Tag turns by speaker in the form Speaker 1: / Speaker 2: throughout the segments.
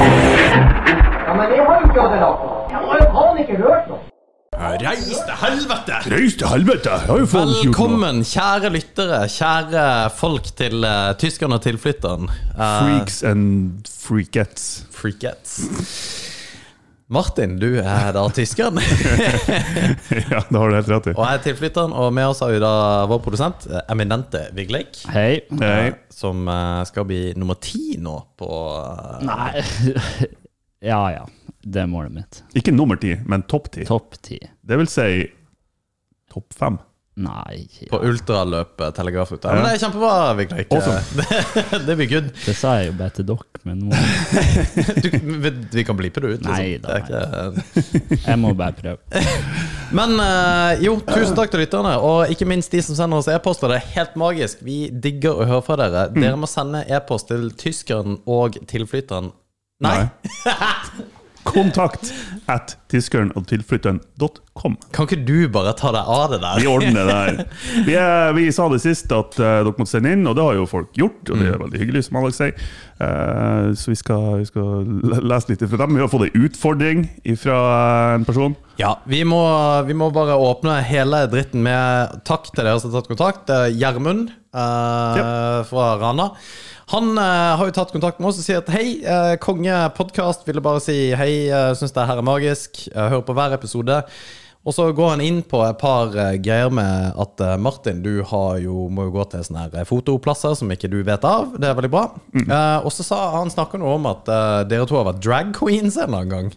Speaker 1: Ja, men jeg har jo ikke hatt det lagt på. Jeg har jo faen ikke hørt noe.
Speaker 2: Reis til helvete!
Speaker 3: Reis til helvete! Jeg har jo faen ikke gjort noe.
Speaker 4: Velkommen, kjære lyttere, kjære folk til uh, tyskerne og tilflytteren. Eh,
Speaker 3: Freaks and freakettes.
Speaker 4: Freakettes. Martin, du er da tyskeren,
Speaker 3: ja, det har du helt rett i.
Speaker 4: og jeg er tilflytteren. Og med oss har vi da vår produsent, eh, eminente Vigleik,
Speaker 5: Hei.
Speaker 3: Nei,
Speaker 4: som eh, skal bli nummer ti nå på eh,
Speaker 5: Nei Ja ja, det er målet mitt.
Speaker 3: ikke nummer ti, men topp ti.
Speaker 5: Topp ti.
Speaker 3: Det vil si topp fem.
Speaker 5: Nei
Speaker 4: på
Speaker 5: ja.
Speaker 4: ultraløpet telegrafruta. Men det er kjempebra, Vigleik. Det, det blir good.
Speaker 5: Det sa jeg jo bare til dere, men nå,
Speaker 4: Du, vi, vi kan blipe det ut. Liksom.
Speaker 5: Nei
Speaker 4: Det
Speaker 5: da,
Speaker 4: er ikke,
Speaker 5: jeg må bare prøve.
Speaker 4: Men eh, jo, tusen takk til lytterne, og ikke minst de som sender oss e-poster. Det er helt magisk. Vi digger å høre fra dere. Dere må sende e-post til tyskeren og tilflytteren. Nei.
Speaker 3: Kontakt at tiskeren og tilflytteren.com.
Speaker 4: Kan ikke du bare ta deg av det der?
Speaker 3: Vi ordner det der. Vi, er, vi sa det sist at eh, dere måtte sende inn, og det har jo folk gjort. Og det er veldig hyggelig, som Alex sier. Eh, så vi skal, vi skal le- lese litt fra dem. Vi har fått en utfordring fra en person.
Speaker 4: Ja, vi må, vi må bare åpne hele dritten med takk til dere som har tatt kontakt. Det er Gjermund eh, fra Rana. Han eh, har jo tatt kontakt med oss og sier at hei, uh, kongepodkast. Ville bare si hei, uh, syns det her er magisk. eh, hører på hver episode. Og så går han inn på et par eh, greier med at eh, Martin, du har jo, må jo gå til sånne her eh, fotoplasser som ikke du vet av. Det er veldig bra. Eh, og så sa han snakka noe om at eh, dere to har vært drag queens en eller annen gang.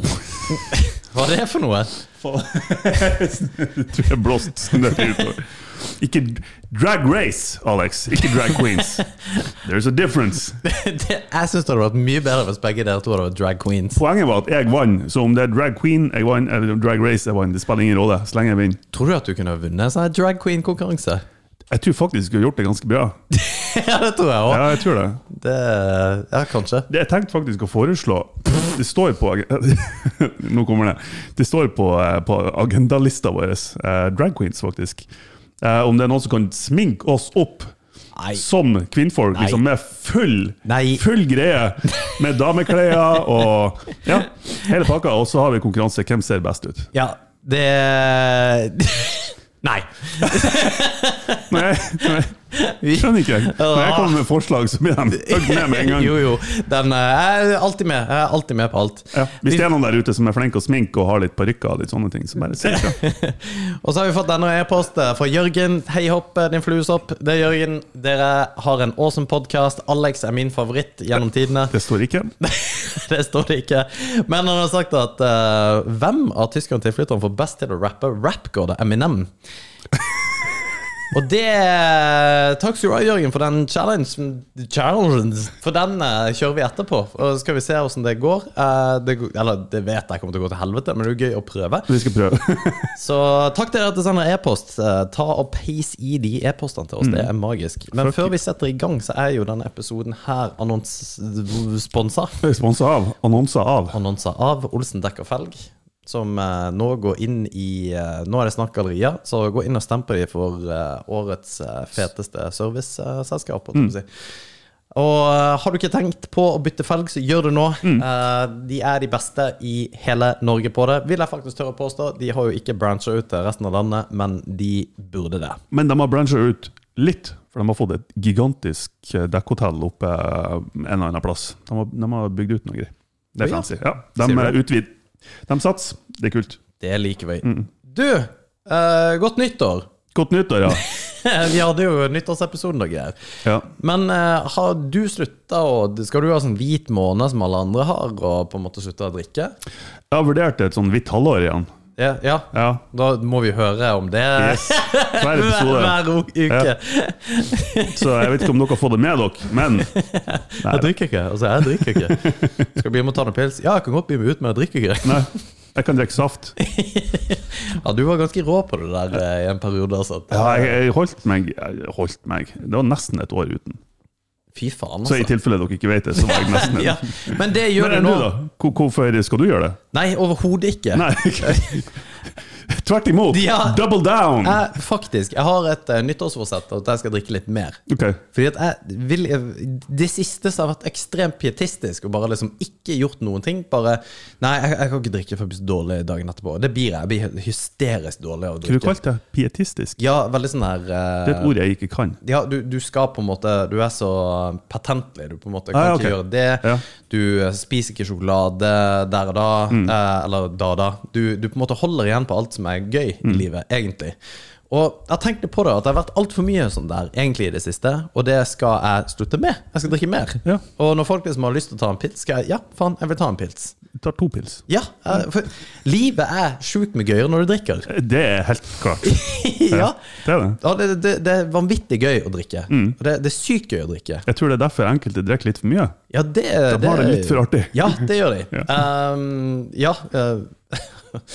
Speaker 4: Hva er det for noe?
Speaker 3: Jeg tror jeg blåst snøret utover. Ikke drag race, Alex. Ikke drag queens. There's a difference.
Speaker 4: det, jeg syns det hadde vært mye bedre hvis begge dere to hadde vært drag queens.
Speaker 3: Poenget var at jeg vant, så om det er drag queen jeg vant, eller drag race jeg vant, det spiller ingen rolle, så lenge jeg vinner.
Speaker 4: Tror du at du kunne ha vunnet en sånn her drag queen-konkurranse?
Speaker 3: Jeg tror faktisk jeg har gjort det ganske bra.
Speaker 4: ja, det tror jeg òg.
Speaker 3: Ja, jeg tror det.
Speaker 4: Ja, kanskje.
Speaker 3: Det jeg tenkte faktisk å foreslå Det står på Nå kommer det. Det står på, eh, på agendalista vår, eh, drag queens, faktisk. Eh, om det er noen som kan sminke oss opp
Speaker 4: Nei.
Speaker 3: som kvinnfolk, liksom med full,
Speaker 4: Nei.
Speaker 3: full greie. Med dameklær og ja, hele pakka. Og så har vi konkurranse. Hvem ser best ut?
Speaker 4: Ja, det Nei.
Speaker 3: Nei, nei
Speaker 4: Vi-
Speaker 3: skjønner ikke jeg. Når jeg kommer med forslag, så blir de høgd ned med en gang.
Speaker 4: jo, jo. Den, eh, jeg er alltid med. Jeg er alltid med på alt.
Speaker 3: Ja, hvis det er noen der ute som er flink å sminke og har litt parykker, og litt sånne ting, så bare si ifra.
Speaker 4: Og så har vi fått denne e-posten fra Jørgen. Hei hopp, eh, din fluesopp. Det er Jørgen. Dere har en awesome podkast. Alex er min favoritt gjennom tidene.
Speaker 3: Det står ikke.
Speaker 4: det står det ikke. Men han har sagt at eh, hvem av tyskerne og tilflytterne får best til å rappe rap, går det Eminem? Og det Takk skal du ha, Jørgen, for den challengen. Challenge. For den eh, kjører vi etterpå. Og så skal vi se åssen det går. Eh, det, går- eller det vet jeg kommer til å gå til helvete, men det er jo gøy å prøve.
Speaker 3: Vi skal prøve.
Speaker 4: Så takk til dere at dere sender e-post. Eh, Ta og peis i de e-postene til oss. Det er magisk. Men
Speaker 3: Fuck
Speaker 4: før
Speaker 3: you.
Speaker 4: vi setter i gang, så er jo denne episoden her annons- sponsa
Speaker 3: Sponsa av. Annonser av.
Speaker 4: annonser av Olsen dekker felg, som eh, nå går inn i eh, Nå er det snakk gallerier, så gå inn og stem på dem for eh, årets eh, feteste serviceselskap. holdt jeg på å si. Og eh, har du ikke tenkt på å bytte felg, så gjør det nå. Eh, de er de beste i hele Norge på det, vil jeg faktisk tørre å påstå. De har jo ikke brancha ut til resten av landet, men de burde det.
Speaker 3: Men de har brancha ut litt, for de har fått et gigantisk eh, dekkhotell oppe eh, en eller annen plass. De har, de har bygd ut noe greier. Det
Speaker 4: Å
Speaker 3: er
Speaker 4: ja.
Speaker 3: fancy. Ja,
Speaker 4: Sier
Speaker 3: de
Speaker 4: du
Speaker 3: eh,
Speaker 4: det?
Speaker 3: utvider. De satser. Det er kult.
Speaker 4: Det liker vi. Du, eh, godt nyttår!
Speaker 3: Godt nyttår, ja.
Speaker 4: vi hadde jo nyttårsepisoden og greier.
Speaker 3: ja.
Speaker 4: Men eh, har du slutta å Skal du ha sånn hvit måned som alle andre har, og på en måte slutta å drikke?
Speaker 3: Jeg har vurdert et sånn hvitt halvår igjen.
Speaker 4: Ja, ja.
Speaker 3: Ja.
Speaker 4: Da må vi høre om det
Speaker 3: Yes. Hver
Speaker 4: hver,
Speaker 3: episode.
Speaker 4: hver o- uke.
Speaker 3: Ja. Så jeg vet ikke om dere har fått det med dere, men
Speaker 4: Jeg drikker ikke. Altså, jeg drikker ikke. Skal bli med og ta noen pils? Ja, jeg kan godt bli med ut, men jeg drikker ikke.
Speaker 3: nei, jeg kan drikke saft.
Speaker 4: Ja, du var ganske rå på det der eh, i en periode. Altså.
Speaker 3: Ja, jeg, jeg holdt meg. Jeg holdt meg. Det var nesten et år uten.
Speaker 4: Fy faen,
Speaker 3: Så i
Speaker 4: altså.
Speaker 3: tilfelle dere ikke vet det, så var jeg nesten
Speaker 4: Ja,
Speaker 3: et.
Speaker 4: men det gjør
Speaker 3: Men
Speaker 4: det
Speaker 3: enn du,
Speaker 4: nå.
Speaker 3: da? Hvor- Hvorfor skal du gjøre det?
Speaker 4: Nei, overhodet ikke.
Speaker 3: Nei, ok. Tvert imot.
Speaker 4: Ja.
Speaker 3: Double down!
Speaker 4: Jeg, faktisk, jeg har et eh, nyttårsforsett at jeg skal drikke litt mer.
Speaker 3: Ok.
Speaker 4: Fordi at jeg vil Det siste så har jeg vært ekstremt pietistisk og bare liksom ikke gjort noen ting. Bare Nei, jeg, jeg kan ikke drikke for jeg blir så dårlig dagen etterpå. Det blir jeg. Jeg blir hysterisk dårlig av å
Speaker 3: Skulle du
Speaker 4: drikke.
Speaker 3: kalt det pietistisk?
Speaker 4: Ja, veldig sånn her eh,
Speaker 3: Det er et ord jeg ikke kan.
Speaker 4: ja, du, du skal på en måte Du er så patentlig. Du på en måte kan
Speaker 3: Ah, ja, ok.
Speaker 4: ikke gjøre det.
Speaker 3: Ja.
Speaker 4: Du eh, spiser ikke sjokolade der og da.
Speaker 3: Mm.
Speaker 4: Eh, eller da og da. Du, du på en måte holder igjen på alt som er gøy
Speaker 3: Mm.
Speaker 4: i livet, egentlig. Og jeg tenkte på det at det har vært altfor mye sånn der egentlig i det siste, og det skal jeg slutte med. Jeg skal drikke mer.
Speaker 3: Ja.
Speaker 4: Og når folk liksom har lyst til å ta en pils, skal jeg Ja, faen, jeg vil ta en pils.
Speaker 3: Du tar to pils.
Speaker 4: Ja,
Speaker 3: Mm.
Speaker 4: eh, for livet er sjukt mye gøyere når du drikker.
Speaker 3: Det er helt klart.
Speaker 4: ja.
Speaker 3: Det er det.
Speaker 4: Ja, det, det, det er vanvittig gøy å drikke.
Speaker 3: Mm.
Speaker 4: Og Det, det er sykt gøy å drikke.
Speaker 3: Jeg tror det er derfor enkelte drikker litt for mye.
Speaker 4: Ja, det,
Speaker 3: De har det litt for artig.
Speaker 4: Ja, det gjør de.
Speaker 3: Ja.
Speaker 4: Ehm, ja eh,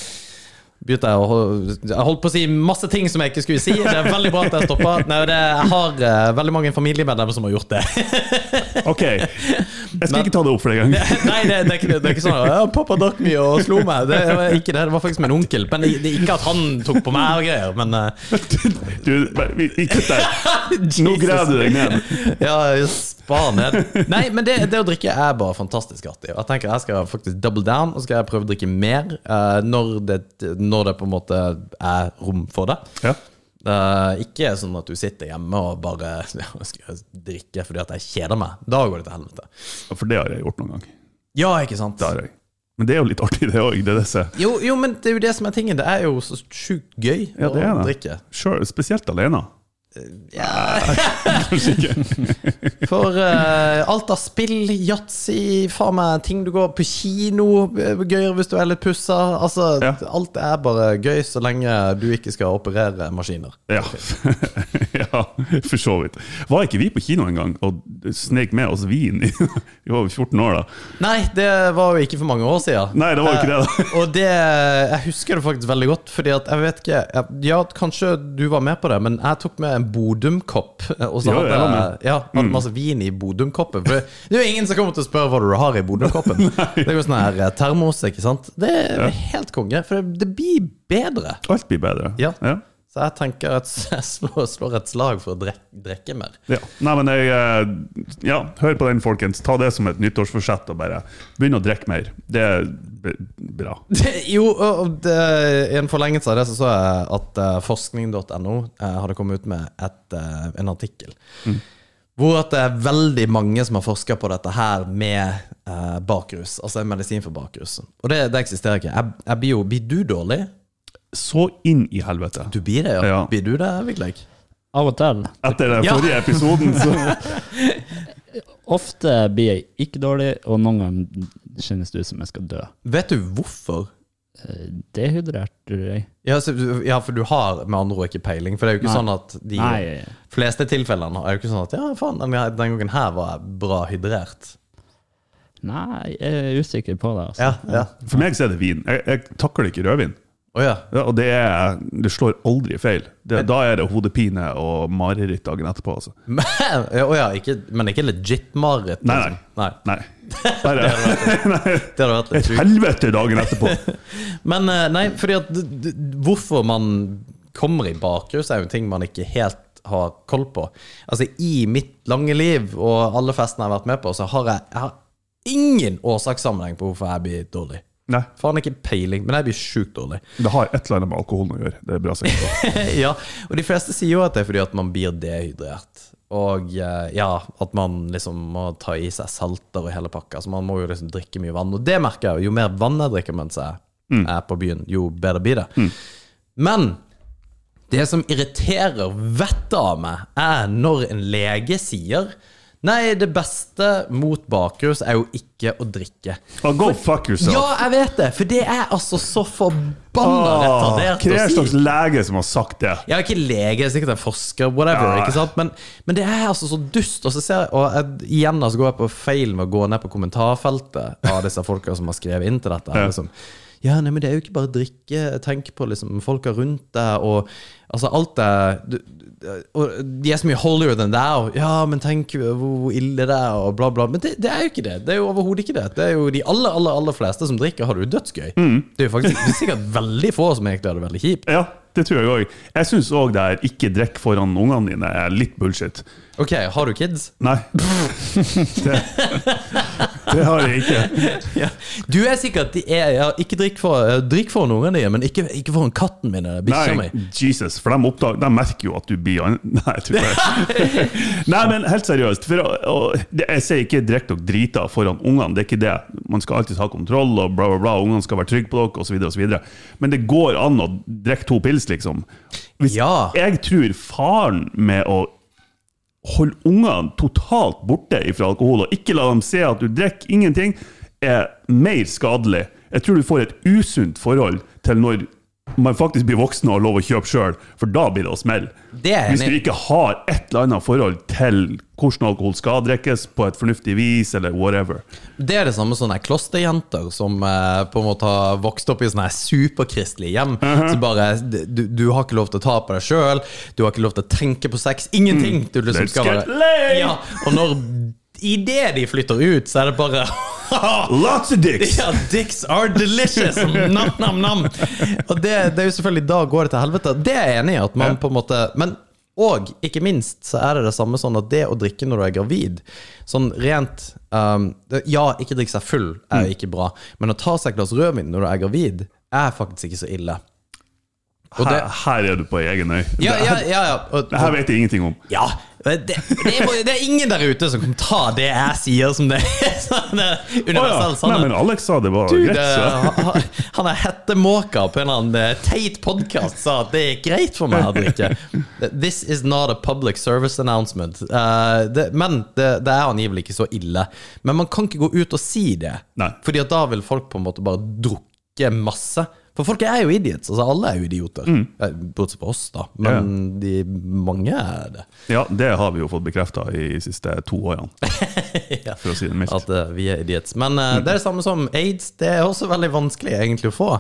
Speaker 4: Begynte jeg å hol- Jeg holdt på å si masse ting som jeg ikke skulle si. Det er veldig bra at jeg stoppa. Nei, det, jeg har eh, veldig mange familiemedlemmer som har gjort det.
Speaker 3: Ok, jeg skal
Speaker 4: Men-
Speaker 3: ikke ta det opp for deg engang.
Speaker 4: Nei, det, det, er ikke, det er ikke sånn at «Ja, 'Pappa drakk mye og slo meg'. Det var ikke det. Det var faktisk min onkel. Men det, det er ikke at han tok på meg og greier. Men eh,
Speaker 3: Du, bare- vi, vi kutter. Nå
Speaker 4: Jesus.
Speaker 3: graver du deg ned.
Speaker 4: Ja, spar ned. Nei, men det, det å drikke er bare fantastisk artig. Jeg tenker jeg skal faktisk double down, og så skal jeg prøve å drikke mer eh, når, det, når det på en måte er rom for det.
Speaker 3: Ja.
Speaker 4: Eh, ikke sånn at du sitter hjemme og bare ja, skal jeg drikke fordi at jeg kjeder meg. Da går det til helvete.
Speaker 3: For det har jeg gjort noen gang.
Speaker 4: Ja, ikke sant?
Speaker 3: Det har jeg. Men det er jo litt artig, det òg. Det er disse.
Speaker 4: Jo, jo, men det er jo det som er tingen. Det er jo så sjukt gøy
Speaker 3: Ja, det
Speaker 4: å
Speaker 3: er det.
Speaker 4: drikke.
Speaker 3: Sure, spesielt alene.
Speaker 4: For eh, alt av spill, yatzy, faen meg ting du går på kino eh, Gøyere hvis du er litt pussa. Altså,
Speaker 3: Ja.
Speaker 4: alt er bare gøy så lenge du ikke skal operere maskiner.
Speaker 3: Ja. ja, for så vidt. Var ikke vi på kino en gang og snek med oss vin? i- Vi var jo 14 år da.
Speaker 4: Nei, det var jo ikke for mange år siden.
Speaker 3: Nei, det var jo ikke det, da.
Speaker 4: Eh, og det Jeg husker det faktisk veldig godt, fordi at jeg vet ikke jeg- Ja, kanskje du var med på det, men jeg tok med en Bodum-kopp. eh, Og så
Speaker 3: Ja,
Speaker 4: hadde
Speaker 3: jeg var
Speaker 4: jeg
Speaker 3: med. Mm.
Speaker 4: ja, hadde masse vin i Bodum-koppen. For det er jo ingen som kommer til å spørre hva du har i Bodum-koppen. det er jo sånn her eh, termos, ikke sant. Det er helt konge, for det, det blir bedre.
Speaker 3: Alt blir bedre.
Speaker 4: Eh, Ja.
Speaker 3: ja.
Speaker 4: Så jeg tenker at jeg slår, slår et slag for å drek, drikke mer.
Speaker 3: Ja. Nei, men jeg eh, Ja, hør på den, folkens. Ta det som et nyttårsforsett og bare begynn å drikke mer. Det er b- bra.
Speaker 4: Det, jo, og og det, i en forlengelse av det så så jeg at eh, forskning.no eh, hadde kommet ut med et, eh, en artikkel. Hvor at det er veldig mange som har forska på dette her med eh, bakrus. Altså en medisin for bakrus. Og det, det eksisterer ikke. Jeg, jeg blir jo Blir du dårlig?
Speaker 3: Så inn i helvete.
Speaker 4: Du blir det, ja.
Speaker 3: Ja.
Speaker 4: Blir du det, Vigleik?
Speaker 5: Av og til.
Speaker 3: Etter den
Speaker 4: Ja.
Speaker 3: forrige episoden, så
Speaker 5: Ofte blir jeg ikke dårlig, og noen ganger kjennes det ut som jeg skal dø.
Speaker 4: Vet du hvorfor?
Speaker 5: Eh, Dehydrert, tror jeg.
Speaker 4: Ja, så, du- ja, for du har med andre ord ikke peiling. For det er jo ikke
Speaker 5: Nei.
Speaker 4: sånn at de
Speaker 5: Nei.
Speaker 4: fleste tilfellene er jo ikke sånn at Ja, faen, den den gangen her var jeg bra hydrert.
Speaker 5: Nei, jeg er usikker på det. Altså.
Speaker 4: Ja, ja.
Speaker 3: For meg så er det vin. Jeg, jeg takler ikke rødvin.
Speaker 4: Å ja.
Speaker 3: Ja, og det, er, det slår aldri feil. Det, da er det hodepine og mareritt dagen etterpå. Altså.
Speaker 4: Men, ja, å ja, ikke, men ikke legit mareritt?
Speaker 3: Nei,
Speaker 4: liksom. nei.
Speaker 3: Nei. Bare
Speaker 4: Det hadde
Speaker 3: et
Speaker 4: vært litt sjukt.
Speaker 3: helvete dagen etterpå.
Speaker 4: Men eh, nei, fordi at d- d- hvorfor man kommer i bakrus, er jo en ting man ikke helt har koll på. Altså, i mitt lange liv og alle festene jeg har vært med på, så har jeg, jeg har ingen årsakssammenheng på hvorfor jeg blir dårlig.
Speaker 3: Nei.
Speaker 4: Faen ikke peiling, men jeg blir sjukt dårlig.
Speaker 3: Det har et eller annet med alkoholen å gjøre. Det er bra sikkert.
Speaker 4: ja, og de fleste sier jo at det er fordi at man blir dehydrert. Og eh, ja, at man liksom må ta i seg salter og hele pakka. Så man må jo liksom drikke mye vann. Og det merker jeg jo. Jo mer vann jeg drikker mens jeg
Speaker 3: Mm.
Speaker 4: er på byen, jo bedre blir det. Men det som irriterer vettet av meg, er når en lege sier Nei, det beste mot bakrus er jo ikke å drikke.
Speaker 3: Ah, go fuck yourself.
Speaker 4: Ja, jeg vet det, for det er altså så forbanna
Speaker 3: Ah,
Speaker 4: retardert
Speaker 3: Hva er en
Speaker 4: å
Speaker 3: slags
Speaker 4: si.
Speaker 3: lege som har sagt det?
Speaker 4: Jeg er ikke lege, jeg er sikkert en forsker, whatever.
Speaker 3: Ja.
Speaker 4: ikke sant? Men, men det er altså så dust. Og så ser jeg, og jeg, igjen altså, går jeg på feil med å gå ned på kommentarfeltet av disse folka som har skrevet inn til dette. her,
Speaker 3: Ja.
Speaker 4: Liksom. Ja, nei, men det er jo ikke bare drikke. Tenk på liksom folka rundt deg, og altså alt er du, du- og De er så mye holier than thou. Ja, men tenk hvor- hvor ille det er, og bla, bla. Men det, det er jo ikke det. Det er jo overhodet ikke det. Det er jo De aller, aller, aller fleste som drikker, har det jo dødsgøy.
Speaker 3: Mm.
Speaker 4: Det er jo faktisk det er sikkert veldig få som egentlig har det veldig kjipt.
Speaker 3: Ja, det tror jeg òg. Jeg syns òg det her 'ikke drikk foran ungene dine' er litt bullshit.
Speaker 4: Ok, har du kids?
Speaker 3: Nei. Det, det har jeg ikke.
Speaker 4: Du er sikkert de er, ja, Ikke drikk for, eh, drikk for noen dine, men ikke, ikke for en katten min eller bikkja
Speaker 3: Nei,
Speaker 4: mi.
Speaker 3: Jesus, for de, oppdag, de merker jo at du blir an... Nei, jeg tror ikke det. Nei, men helt seriøst. For, å- å- det- jeg sier ikke 'drikk dere drita foran ungene', det er ikke det. Man skal alltid ha kontroll, og bla, bla, bla. Ungene skal være trygge på dere, osv., osv. Men det går an å drikke to pils, liksom. Hvis
Speaker 4: Ja.
Speaker 3: Jeg tror faren med å holde ungene totalt borte fra alkohol, og ikke la dem se at du drikker ingenting, er mer skadelig. Jeg tror du får et usunt forhold til når man faktisk blir voksen og har lov å kjøpe sjøl, for da blir det å smelle.
Speaker 4: Det er jeg
Speaker 3: Hvis du
Speaker 4: enig i.
Speaker 3: ikke har et eller annet forhold til hvordan alkohol skal drikkes på et fornuftig vis, eller whatever.
Speaker 4: Det er det samme som sånne klosterjenter som eh, på en måte har vokst opp i sånne her superkristelige hjem.
Speaker 3: Uh-huh.
Speaker 4: Så bare du, du har ikke lov til å ta på deg sjøl, du har ikke lov til å tenke på sex. Ingenting! Du
Speaker 3: Mm.
Speaker 4: liksom
Speaker 3: Let's
Speaker 4: skal
Speaker 3: get
Speaker 4: bare-
Speaker 3: laid!
Speaker 4: Ja, og når idet de flytter ut, så er det bare
Speaker 3: Lots of dicks!
Speaker 4: Ja, dicks are delicious! Nam, nam, nam. Og det, det er jo selvfølgelig da går det til helvete. Det er jeg enig i. at man på en måte... Men og ikke minst så er det det samme sånn at det å drikke når du er gravid Sånn rent um, det- Ja, ikke drikke seg full er jo ikke bra, men å ta seg et glass rødvin når du er gravid, er faktisk ikke så ille. Og det,
Speaker 3: Her, her er du på egen øy.
Speaker 4: ja, ja, ja, ja. Og,
Speaker 3: Det her vet jeg ingenting om.
Speaker 4: ja, det, det, er, bare- det er ingen der ute som kan ta det jeg sier som det er sånn eh,
Speaker 3: Å ja.
Speaker 4: universell
Speaker 3: Nei,
Speaker 4: sannhet.
Speaker 3: men Alex sa det var
Speaker 4: Dude,
Speaker 3: greit, så.
Speaker 4: eh, han- han er hettemåka på en eller annen eh, teit podkast sa at det er greit for meg å drikke. This is not a public service announcement. Eh, det, men det, det er angivelig ikke så ille. Men man kan ikke gå ut og si det,
Speaker 3: Nei.
Speaker 4: Fordi at da vil folk på en måte bare drukke masse. For folk er jo idiots. Altså alle er jo idioter.
Speaker 3: Mm.
Speaker 4: Eh, Bortsett fra oss, da. Men de mange er det.
Speaker 3: Ja, det har vi jo fått bekrefta i de siste to årene,
Speaker 4: ja.
Speaker 3: for å si det mildt.
Speaker 4: At eh, vi er idiots. Men eh, det er det samme som aids. Det er også veldig vanskelig egentlig å få.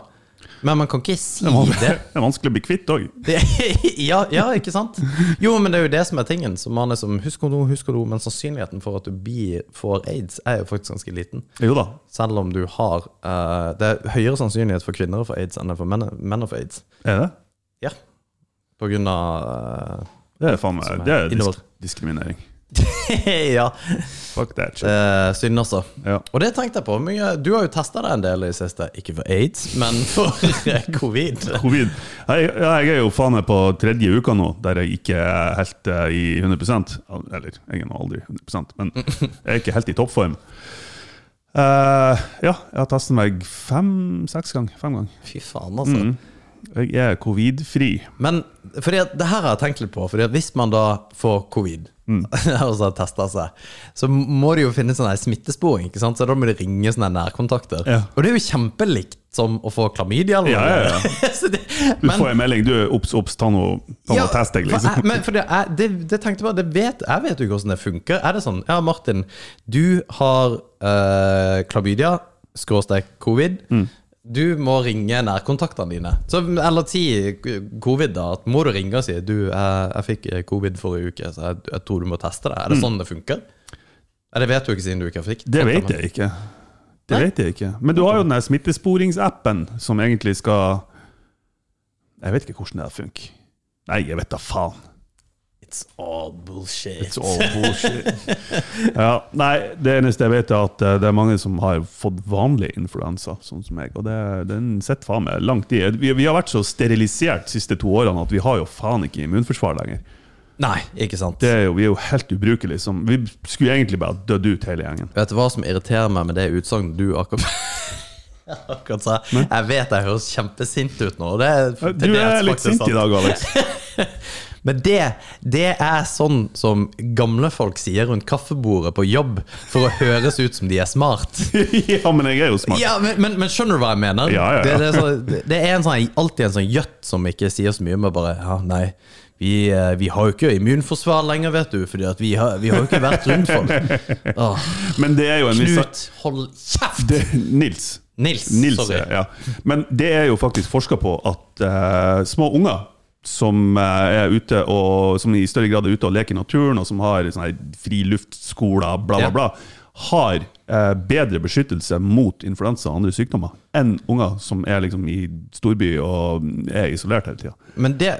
Speaker 4: Men man kan ikke si
Speaker 3: Det var-
Speaker 4: det.
Speaker 3: det er vanskelig å bli kvitt òg.
Speaker 4: det ja, ja, ikke sant? Jo, men det er jo det som er tingen. Så man er som, husk kondom, husk kondom. Men sannsynligheten for at du blir, får aids, er jo faktisk ganske liten.
Speaker 3: Jo da.
Speaker 4: Selv om du har eh, Det er høyere sannsynlighet for kvinner å få aids enn det er for menn, menn å få aids.
Speaker 3: Er det?
Speaker 4: Ja. På grunn av
Speaker 3: Det er faen
Speaker 4: Som er
Speaker 3: meg Det er
Speaker 4: innhold.
Speaker 3: disk diskriminering.
Speaker 4: eh, Ja.
Speaker 3: Fuck that shit.
Speaker 4: Uh, synd, altså.
Speaker 3: Ja.
Speaker 4: Og det tenkte jeg på. Mye, du har jo testa deg en del i det siste. Ikke for aids, men for covid.
Speaker 3: Covid. Jeg, ja, jeg er jo faen meg på tredje uka nå, der jeg ikke er helt eh, i 100 Eller, jeg er nå aldri 100 men jeg er ikke helt i toppform. Eh, ja, jeg har testet meg fem-seks ganger. Fem ganger.
Speaker 4: Fy faen, altså.
Speaker 3: Jeg er covid-fri.
Speaker 4: Men fordi at, det her har jeg tenkt litt på. Fordi at Hvis man da får covid
Speaker 3: Mm.
Speaker 4: og så har testa seg, så må det jo finnes sånn her smittesporing. Ikke sant? Så da må det ringe sånne her nærkontakter.
Speaker 3: Ja.
Speaker 4: Og det er jo kjempelikt som å få klamydia. Eller
Speaker 3: Ja, ja, ja.
Speaker 4: noe. Så det-
Speaker 3: Du
Speaker 4: men-
Speaker 3: får en melding. Du, obs, obs, ta nå ta nå test deg,
Speaker 4: for jeg,
Speaker 3: liksom.
Speaker 4: men for det, jeg, det, det tenkte jeg bare, det vet, jeg vet jo ikke hvordan det funker. Er det sånn, ja Martin, du har eh, klamydia, skråstek covid.
Speaker 3: Mm.
Speaker 4: Du må ringe nærkontaktene dine. Så, eller si covid, da. At må du ringe og si du, jeg, jeg fikk eh, covid forrige uke, så jeg, jeg tror du må teste det. Er det sånn det funker? Ja, det vet du ikke siden du ikke fikk.
Speaker 3: Mm. Det vet jeg ikke. Det
Speaker 4: Nei.
Speaker 3: vet jeg ikke. Men du har jo den der smittesporingsappen som egentlig skal Jeg vet ikke hvordan det her funker. Nei, jeg vet da faen.
Speaker 4: It's all bullshit.
Speaker 3: It's all bullshit. ja, nei, det eneste jeg vet, er at eh, det er mange som har fått vanlig influensa, sånn som meg. Og det, den sitter faen meg langt i. Vi, vi har vært så sterilisert de siste to årene at vi har jo faen ikke immunforsvar lenger.
Speaker 4: Nei, ikke sant.
Speaker 3: Det er jo, vi er jo helt ubrukelige. Som, vi skulle egentlig bare dødd ut, hele gjengen.
Speaker 4: Vet du hva som irriterer meg med det utsagnet du akkurat Akkurat sa jeg. Jeg vet jeg høres kjempesint ut nå. og Det er
Speaker 3: Du
Speaker 4: til dels
Speaker 3: er litt
Speaker 4: faktisk
Speaker 3: sint i
Speaker 4: sant.
Speaker 3: dag, Alex.
Speaker 4: Men det, det er sånn som gamle folk sier rundt kaffebordet på jobb, for å høres ut som de er smart.
Speaker 3: ja, men jeg er jo smart.
Speaker 4: Ja, men, men, men skjønner du hva jeg mener?
Speaker 3: Ja, ja, ja.
Speaker 4: Det, det er, så, det- det er en sånn, alltid en sånn gjøtt som ikke sier så mye, men bare ja, nei. Vi, eh, vi har jo ikke immunforsvar lenger, vet du, fordi at vi, har, vi har jo ikke vært rundt folk. Åh,
Speaker 3: Men det er jo en viss
Speaker 4: Knut, hold kjeft!
Speaker 3: det, Nils.
Speaker 4: Nils,
Speaker 3: Nils
Speaker 4: sorry.
Speaker 3: ja. Men det er jo faktisk forska på at eh, små unger som eh, er ute og som i større grad er ute og leker i naturen, og som har sånne her friluftskoler, bla,
Speaker 4: Ja.
Speaker 3: bla, bla, har eh, bedre beskyttelse mot influensa og andre sykdommer enn unger som er liksom i storby og er isolert hele tida.
Speaker 4: Men det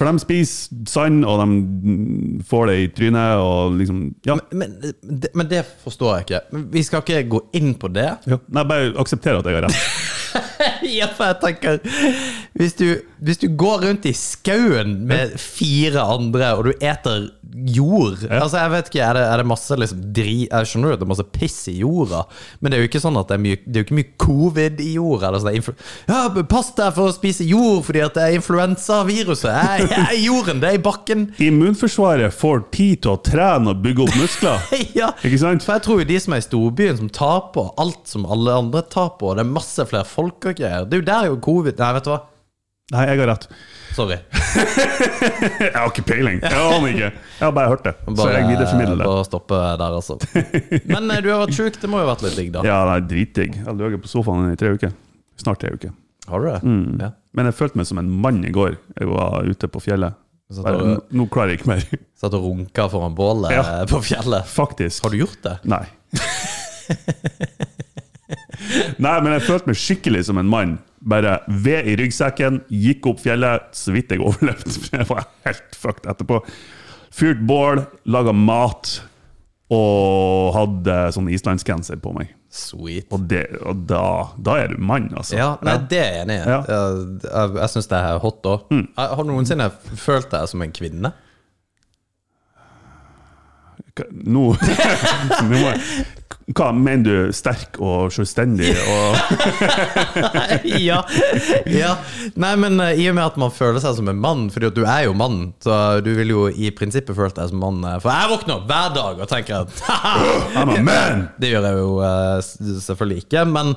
Speaker 3: For de spiser sand, og de mm, får det i trynet, og liksom Ja.
Speaker 4: men, men det- men det forstår jeg ikke. Men Vi skal ikke gå inn på det.
Speaker 3: ja. Nei, bare aksepter at jeg har rett.
Speaker 4: Ja, for jeg tenker hvis du, hvis du går rundt i skauen med fire andre, og du eter jord Altså, jeg vet ikke, er det, er det masse liksom dri... Jeg skjønner jo at det er masse piss i jorda, men det er jo ikke sånn at det er mye Det er jo ikke mye covid i jorda. Eller sånn, det er influ- ja, men pass deg for å spise jord fordi at det er influensaviruset! Jeg, jeg er i jorden, det er i bakken!
Speaker 3: Immunforsvaret får tid til å trene og bygge opp muskler.
Speaker 4: Ja,
Speaker 3: Ikke sant?
Speaker 4: For jeg tror jo de som er i storbyen, som tar på alt som alle andre tar på, og det er masse flere folk og greier Det er jo der jo covid Nei, vet du hva?
Speaker 3: Nei, jeg har rett.
Speaker 4: Sorry.
Speaker 3: Jeg har ikke peiling. Jeg aner ikke. Jeg har bare hørt det. Så
Speaker 4: Bare,
Speaker 3: jeg videreformidler det.
Speaker 4: bare stoppe der, altså. Men eh, du har vært sjuk. Det må jo ha vært litt digg, da.
Speaker 3: Ja, det er dritdigg. Jeg har ligget på sofaen i tre uker. Snart tre uker.
Speaker 4: Har du det? Ja.
Speaker 3: Men jeg følte meg som en mann i går. Jeg var ute på fjellet.
Speaker 4: Så tar
Speaker 3: Bare,
Speaker 4: du-
Speaker 3: "Nå- nå klarer jeg ikke mer.
Speaker 4: Satt og runka foran bålet
Speaker 3: Ja.
Speaker 4: eh, på fjellet.
Speaker 3: Faktisk.
Speaker 4: Har du gjort det?
Speaker 3: Nei. Nei, men jeg følte meg skikkelig som en mann. Bare ved i ryggsekken, gikk opp fjellet, så vidt jeg overlevde. Jeg var helt fucked etterpå. Fyrt bål, laga mat og hadde sånn islandsgenser på meg.
Speaker 4: Sweet.
Speaker 3: Og, det, og da, da er du mann, altså.
Speaker 4: Ja, nei, det er jeg enig i.
Speaker 3: Ja. Mm.
Speaker 4: Eh, Jeg, jeg syns det er hot òg. Har du noensinne følt deg som en kvinne?
Speaker 3: Hva- Nå, nå må jeg, Hva mener du? Sterk og selvstendig? Og,
Speaker 4: ja. ja. Nei, men eh, i og med at man føler seg som en mann, fordi at du er jo mann, så du vil jo i prinsippet føle deg som mann. eh, For jeg våkner hver dag og tenker at
Speaker 3: I'm a man!
Speaker 4: Det gjør jeg jo eh, s- selvfølgelig ikke, men,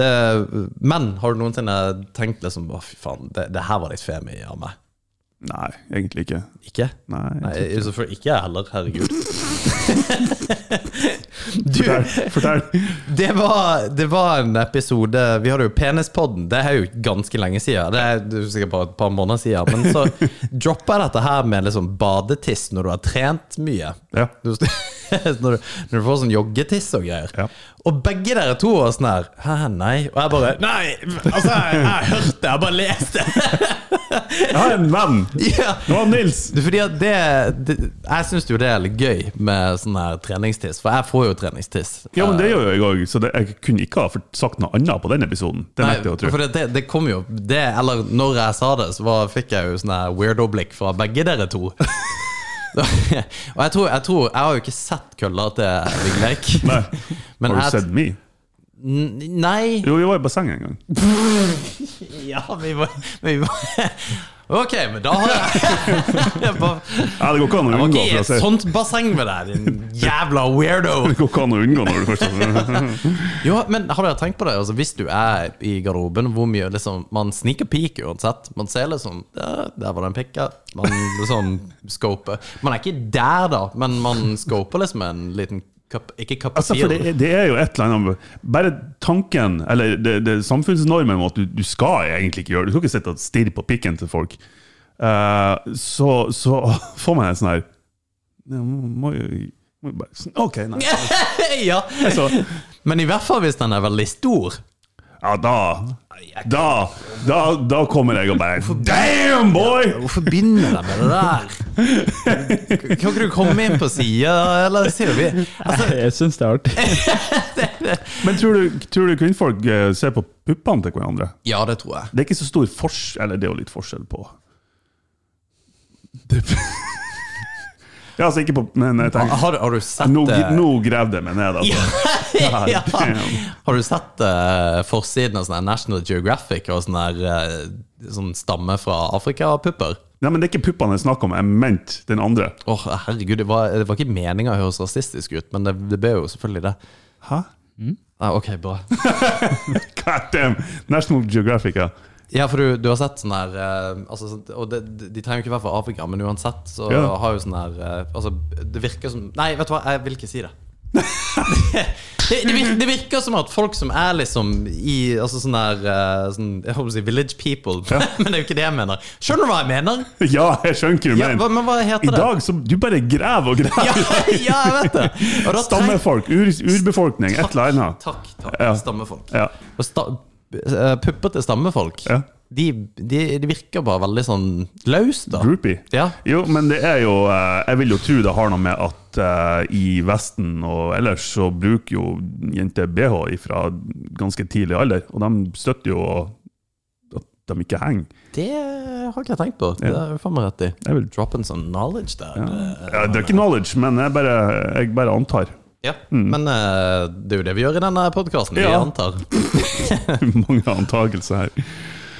Speaker 4: det, men har du noensinne tenkt liksom Å, fy faen, det, det her var litt femi av meg.
Speaker 3: Nei, egentlig ikke.
Speaker 4: Ikke?
Speaker 3: Nei, jeg
Speaker 4: Nei,
Speaker 3: tror ikke.
Speaker 4: selvfølgelig ikke jeg heller. Herregud. du,
Speaker 3: Fortell. fortell.
Speaker 4: det var, det var en episode Vi hadde jo Penispodden. Det er jo ganske lenge siden. Det er det er sikkert bare et par måneder siden. Men så droppa jeg dette her med liksom badetiss når du har trent mye.
Speaker 3: Ja.
Speaker 4: Du, når, du, når du får sånn joggetiss og greier.
Speaker 3: Ja.
Speaker 4: Og begge dere to var sånn her Hæ, nei? Og jeg bare Nei! Altså, jeg, jeg hørte det. Jeg bare leste.
Speaker 3: Jeg har en venn!
Speaker 4: ja.
Speaker 3: Det var Nils!
Speaker 4: Du, Fordi at det, det Jeg syns jo det er litt gøy med sånn her treningstiss, for jeg får jo treningstiss.
Speaker 3: Ja, men det gjør jo jeg òg, så det, jeg kunne ikke ha fort- sagt noe annet på den episoden. Det nekter jeg å
Speaker 4: Nei, for
Speaker 3: tro.
Speaker 4: det, det, det kom jo det, Eller når jeg sa det, så var, fikk jeg jo sånne her weirdo-blikk fra begge dere to. og jeg tror, jeg tror Jeg har jo ikke sett kølla til Vigleik.
Speaker 3: Nei.
Speaker 4: Men
Speaker 3: Har du
Speaker 4: jeg-
Speaker 3: sett meg?
Speaker 4: N- Nei.
Speaker 3: Jo, vi var i bassenget en gang.
Speaker 4: Ja, vi var, vi var Ok, men da har jeg, jeg bare,
Speaker 3: Ja, det går ikke an å
Speaker 4: Jeg var
Speaker 3: unngå. For å
Speaker 4: ikke sånn- i et
Speaker 3: si.
Speaker 4: sånt basseng med deg, din jævla weirdo.
Speaker 3: Det går ikke an å unngå når du først har
Speaker 4: Jo, men har dere tenkt på det? Altså, hvis du er i garderoben, hvor mye liksom Man sniker peak uansett. Man ser liksom Der, der var det en pikk, ja. Man liksom scoper. Man er ikke der, da, men man scoper liksom en liten cup Ikke cup of
Speaker 3: altså, for det,
Speaker 4: tea.
Speaker 3: er- det er jo et eller annet Bare tanken, eller det, det er samfunnsnormen om at du, du skal egentlig ikke gjøre det. Du skal ikke sitte og stirre på pikken til folk. Eh, så, så får man en sånn her ja, må jo må jo bare, sånn, OK, nei. Altså,
Speaker 4: ja.
Speaker 3: Så,
Speaker 4: Men i hvert fall hvis den er veldig stor.
Speaker 3: ja, da da, da da kommer jeg og bare Damn, boy!
Speaker 4: Hvorfor begynner de med det der? Kan ikke du komme inn på sida, eller sier vi altså,
Speaker 5: Jeg syns det er artig.
Speaker 3: Men tror du, tror du kvinnfolk eh, ser på puppene til hverandre?
Speaker 4: Ja, det tror jeg.
Speaker 3: Det er ikke så stor forskjell Eller det er jo litt forskjell på det. Ja, altså ikke på Men jeg tenker
Speaker 4: Har, har du sett
Speaker 3: Nå,
Speaker 4: eh,
Speaker 3: nå grev det meg ned, altså.
Speaker 4: ja.
Speaker 3: damn.
Speaker 4: Har du sett eh, forsiden av sånn her National Geographic og sånn her eh, sånn stamme fra Afrika-pupper?
Speaker 3: Nei, men Det er ikke puppene jeg snakker om, jeg mente den andre.
Speaker 4: Åh, herregud, det var, det var ikke meninga å høres rasistisk ut, men det, det ble jo selvfølgelig det.
Speaker 3: Hæ?
Speaker 4: Nei, ok, bra.
Speaker 3: God damn! National Geographic, ja.
Speaker 4: Ja, for du, du har sett sånn der eh, altså, sånn- Og det, de de trenger jo ikke være fra Afrika, men uansett så
Speaker 3: Ja.
Speaker 4: har jo sånn der eh, Altså, det virker som Nei, vet du hva, jeg vil ikke si det. det, det, virker, det virker som at folk som er liksom i Altså sånn der eh, sånn, Jeg holdt på å si village people, men det er jo ikke det jeg mener. Skjønner du hva jeg mener?
Speaker 3: Ja, jeg skjønner hva du
Speaker 4: Ja, hva,
Speaker 3: mener.
Speaker 4: men hva
Speaker 3: I
Speaker 4: heter det?
Speaker 3: dag så Du bare graver og
Speaker 4: Ja,
Speaker 3: graver.
Speaker 4: ja, jeg vet det! Og da treng-
Speaker 3: Stammefolk, ur, urbefolkning, et eller annet.
Speaker 4: Takk, takk.
Speaker 3: Ja.
Speaker 4: Stammefolk.
Speaker 3: Ja.
Speaker 4: Og sta eh, puppete stammefolk.
Speaker 3: Ja.
Speaker 4: De, de, de virker bare veldig sånn løst, da.
Speaker 3: Groupie.
Speaker 4: Ja.
Speaker 3: Jo, men det er jo eh, Jeg vil jo tro det har noe med at eh, i Vesten og ellers så bruker jo jenter BH fra ganske tidlig alder, og de støtter jo at de ikke henger.
Speaker 4: Det har ikke jeg tenkt på. Det
Speaker 3: Ja.
Speaker 4: får meg rett i.
Speaker 3: Jeg vil
Speaker 4: Dropping some knowledge der. Eh,
Speaker 3: Ja, det er ikke knowledge, men jeg bare, jeg bare antar.
Speaker 4: Ja. Men eh, det er jo det vi gjør i denne podkasten. Vi
Speaker 3: Mm. Ja.
Speaker 4: antar.
Speaker 3: Mange antakelser her.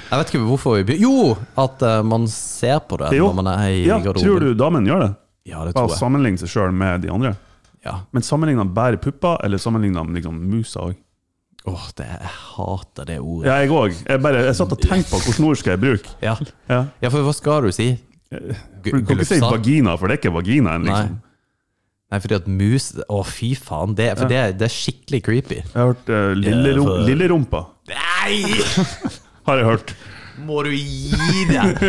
Speaker 4: Jeg vet ikke hvorfor vi begynner Jo! At eh, man ser på det
Speaker 3: Jo.
Speaker 4: når man er i
Speaker 3: Ja,
Speaker 4: garderoben.
Speaker 3: tror du sånn. damen gjør det?
Speaker 4: Ja, det
Speaker 3: Bare
Speaker 4: tror jeg.
Speaker 3: sammenligne seg sjøl med de andre?
Speaker 4: Ja.
Speaker 3: Men sammenligner han bare pupper, eller sammenligner han liksom musa òg?
Speaker 4: Åh, det, jeg hater det ordet.
Speaker 3: Ja, jeg òg. Jeg, bare- jeg satt og tenkte på hvilket ord skal jeg bruke.
Speaker 4: Ja.
Speaker 3: Ja.
Speaker 4: ja, for hva skal du si? Gu-
Speaker 3: For Du kan ikke si
Speaker 4: glufsa?
Speaker 3: vagina, for det er ikke vaginaen, liksom.
Speaker 4: Nei. Nei, fordi at mus Å, fy faen. Det, for det, det er skikkelig creepy.
Speaker 3: Jeg har hørt eh, lille, rom,
Speaker 4: for-
Speaker 3: lille rumpa,
Speaker 4: Nei!
Speaker 3: har jeg hørt.
Speaker 4: Må du gi deg?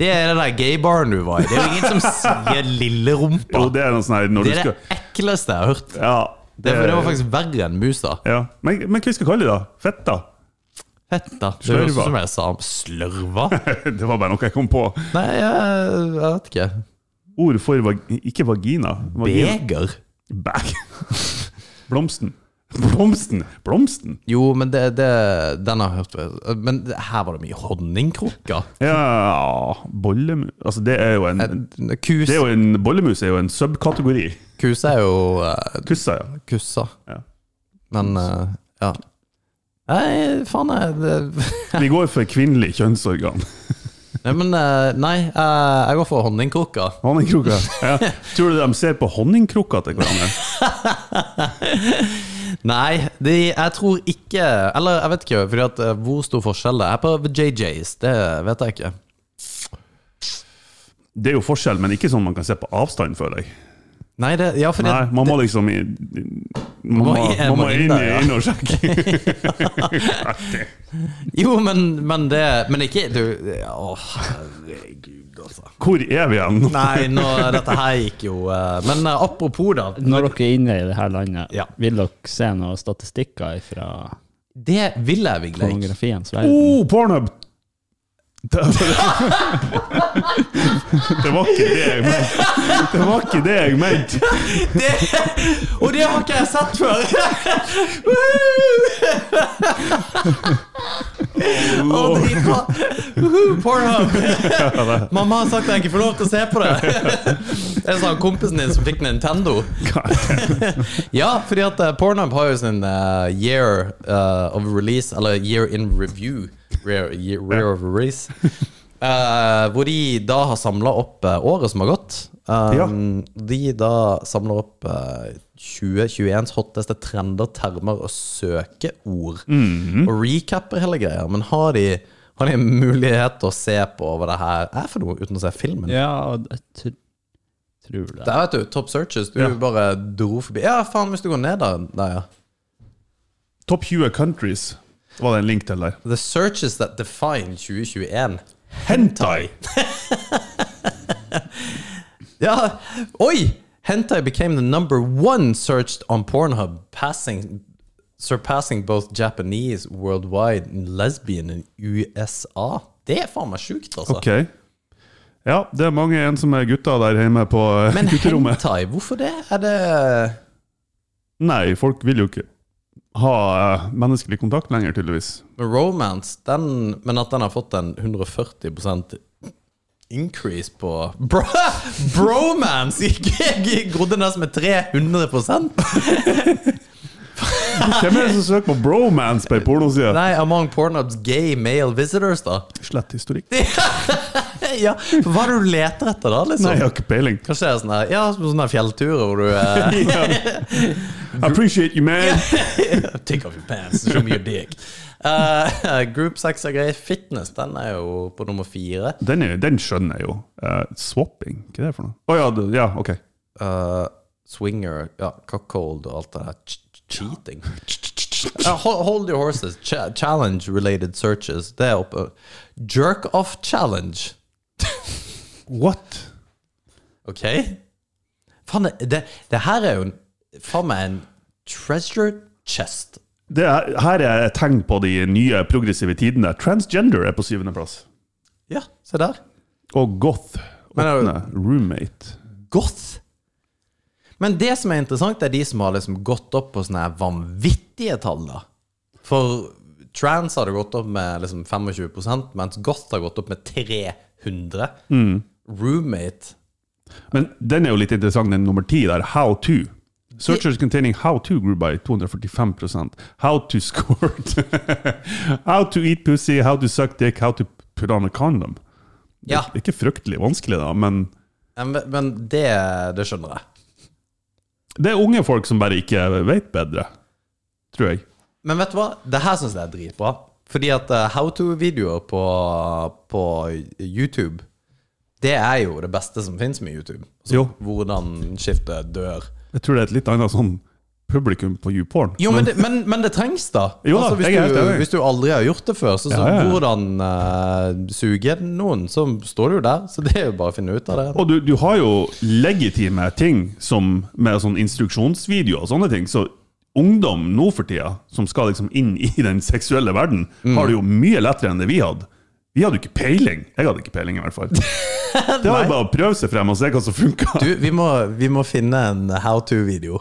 Speaker 4: Det er den der gaybaren du var i. Det er jo ingen som sier lille rumpa.
Speaker 3: Jo, det er noe sånn her når
Speaker 4: Det
Speaker 3: du
Speaker 4: er det
Speaker 3: skal
Speaker 4: ekleste jeg har hørt.
Speaker 3: Ja. eh,
Speaker 4: Det, for det var faktisk verre enn musa.
Speaker 3: ja. Men, men hva skal vi kalle det, da? Fetta?
Speaker 4: Fett, da. Det høres
Speaker 3: Slørva.
Speaker 4: ut som jeg sa slørva.
Speaker 3: Det var bare noe jeg kom på.
Speaker 4: Nei, jeg, jeg vet ikke.
Speaker 3: Ord for vag ikke vagina. vagina.
Speaker 4: Beger.
Speaker 3: Bæ. Blomsten. Blomsten! Blomsten!
Speaker 4: Jo, men det, det, den har jeg hørt før. Men det- her var det mye honningkrukker.
Speaker 3: Ja Bollemus Altså, det er jo en
Speaker 4: Kus,
Speaker 3: det er jo en, Bollemus er jo en subkategori.
Speaker 4: kus er jo eh,
Speaker 3: Kussa, ja.
Speaker 4: kussa.
Speaker 3: Ja.
Speaker 4: Men eh, ja. Nei, faen jeg det,
Speaker 3: Vi går for kvinnelig kjønnsorgan.
Speaker 4: Nei, men eh, Nei, eh, jeg går for honningkrukker.
Speaker 3: Honningkrukka. Ja. Tror du de ser på honningkrukka til hverandre?
Speaker 4: Nei, de, jeg tror ikke Eller jeg vet ikke, fordi at eh, hvor stor forskjell det er på JJs, det vet jeg ikke.
Speaker 3: Det er jo forskjell, men ikke sånn man kan se på avstand, føler jeg.
Speaker 4: Nei, det, ja, fordi
Speaker 3: Nei, man må liksom i, Man må,
Speaker 4: Må i-
Speaker 3: man må
Speaker 4: må inn
Speaker 3: inn,
Speaker 4: der,
Speaker 3: i-
Speaker 4: ja.
Speaker 3: inn og sjekke.
Speaker 4: Jo, men, men det Men ikke du Å, herregud, altså.
Speaker 3: Hvor er vi igjen?
Speaker 4: Nei, nå, dette her gikk jo eh, Men eh, apropos, da.
Speaker 5: Når dere er inne i det her landet,
Speaker 4: Ja.
Speaker 5: vil dere se noen statistikker fra
Speaker 4: Det vil jeg virkelig ikke.
Speaker 5: pornografiens verden?
Speaker 3: Oh, Pornhub! Det var, det var ikke det jeg mente. Det var ikke det jeg mente.
Speaker 4: Det- Og det har ikke jeg sett før! Woo! Å, dritbra. Woohoo, Pornhub! Mamma har sagt at jeg ikke får lov til å se på det. Jeg sa kompisen din som fikk Nintendo. Ja, fordi at eh, Pornhub har jo sin eh, year eh, of release, eller year in review. Rare, year, rare of release. Eh, hvor de da har samla opp eh, året som har gått. Um, De da samler opp eh, 2021s hotteste trender, termer og søkeord. Og recapper hele greia. Men har de, har de en mulighet til å se på hva det her er for noe, uten å se filmen?
Speaker 5: Ja, jeg tr tror det.
Speaker 4: Der vet du, Top Searches. Du
Speaker 3: Ja.
Speaker 4: bare dro forbi. Ja, faen, hvis du går ned der, der ja.
Speaker 3: Top 20 countries var det en link til der.
Speaker 4: The searches that define 2021.
Speaker 3: Hentai!
Speaker 4: Ja, oi! Hentai became the number one searched on Pornhub, passing, surpassing both Japanese, worldwide, and lesbian in USA. Det er faen meg sjukt, altså.
Speaker 3: Ok. Ja, det er mange ensomme gutter der hjemme på eh,
Speaker 4: Men
Speaker 3: gutterommet.
Speaker 4: hentai, hvorfor det? Er det
Speaker 3: Nei, folk vil jo ikke ha eh, menneskelig kontakt lenger, tydeligvis.
Speaker 4: Men romance, den, men at den har fått en 140 increase på Bro, Bromance! Jeg grodde nesten med 300
Speaker 3: Hvem er det som søker på bromance på ei pornoside?
Speaker 4: Nei, among Pornhubs gay male visitors, da.
Speaker 3: Slett historikk.
Speaker 4: ja, for Hva er det du leter etter, da? liksom?
Speaker 3: Nei, jeg har ikke peiling.
Speaker 4: Kanskje det er sånn der, ja, sånne der fjellturer hvor du eh,
Speaker 3: I appreciate you, man.
Speaker 4: Take off your pants, show me your dick. Eh, group sex er grei. Fitness den er jo på nummer fire.
Speaker 3: Den, er, den skjønner jeg jo. Eh, swapping, hva er det for noe? Å ja, det- ja, ok.
Speaker 4: Eh, swinger, ja, cuckold og alt det der. Ch- ch- Cheating. Eh, ho- hold your horses. Ch Challenge-related searches. Det er oppe. Jerk off challenge.
Speaker 3: What?
Speaker 4: Ok? Faen, det, det, det her er jo en, faen meg en treasure chest.
Speaker 3: Det er, her er et tegn på de nye progressive tidene. Transgender er på syvendeplass.
Speaker 4: Ja, se der.
Speaker 3: Og goth.
Speaker 4: Men er det-
Speaker 3: Åttende. Roommate.
Speaker 4: Goth. Men det som er interessant, er de som har liksom gått opp på sånne her vanvittige tall, da. For trans hadde gått opp med liksom 25 mens goth har gått opp med 300. Roommate
Speaker 3: Men den er jo litt interessant, den nummer ti der. How to. Searchers containing how to grew by 245 How to squirt. how to eat pussy, how to suck dick, how to put on a condom.
Speaker 4: Ja,
Speaker 3: Det er ikke fryktelig vanskelig, da, men
Speaker 4: men, men det, det skjønner jeg.
Speaker 3: det er unge folk som bare ikke vet bedre, tror jeg.
Speaker 4: Men vet du hva? Det her syns jeg er dritbra. Fordi at eh, how to-videoer på, på YouTube, det er jo det beste som fins med YouTube. Så
Speaker 3: Jo.
Speaker 4: Hvordan skifte dør.
Speaker 3: Jeg tror det er et litt annet sånn publikum på YouPorn.
Speaker 4: Jo, men det, men, men det trengs, da. Altså,
Speaker 3: Jo da,
Speaker 4: hvis,
Speaker 3: jeg er helt
Speaker 4: du,
Speaker 3: enig.
Speaker 4: hvis du aldri har gjort det før, så, så
Speaker 3: Ja, ja, ja.
Speaker 4: hvordan eh, suge noen, så står det jo der. Så det er jo bare å finne ut av det.
Speaker 3: Og du, du har jo legitime ting som, med sånn instruksjonsvideo og sånne ting. Så ungdom nå for tida, som skal liksom inn i den seksuelle verden, har det jo mye lettere enn det vi hadde. Vi hadde jo ikke peiling. Jeg hadde ikke peiling, i hvert fall. Det var jo bare å prøve seg frem og se hva som funka.
Speaker 4: Du, vi må, vi må finne en how to-video.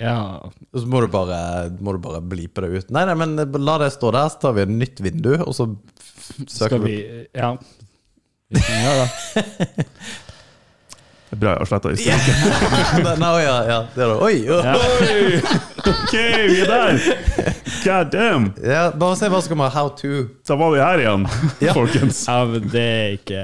Speaker 5: Ja.
Speaker 4: Og så må du bare, må du bare blipe det ut. Nei, nei, men la det stå der, så tar vi et nytt vindu, og så f- søker
Speaker 5: Skal
Speaker 4: vi
Speaker 5: vi Ja. Vi kan gjøre det.
Speaker 3: Bra jeg har sletta i sted.
Speaker 4: Nei, nei, ja, ja, det er det. Oi! oi. Ja.
Speaker 3: Oi! OK, vi er der! God damn!
Speaker 4: bare se hva som kommer. How to.
Speaker 3: Da var vi her igjen,
Speaker 4: Ja.
Speaker 3: folkens.
Speaker 5: Ja, men det er ikke,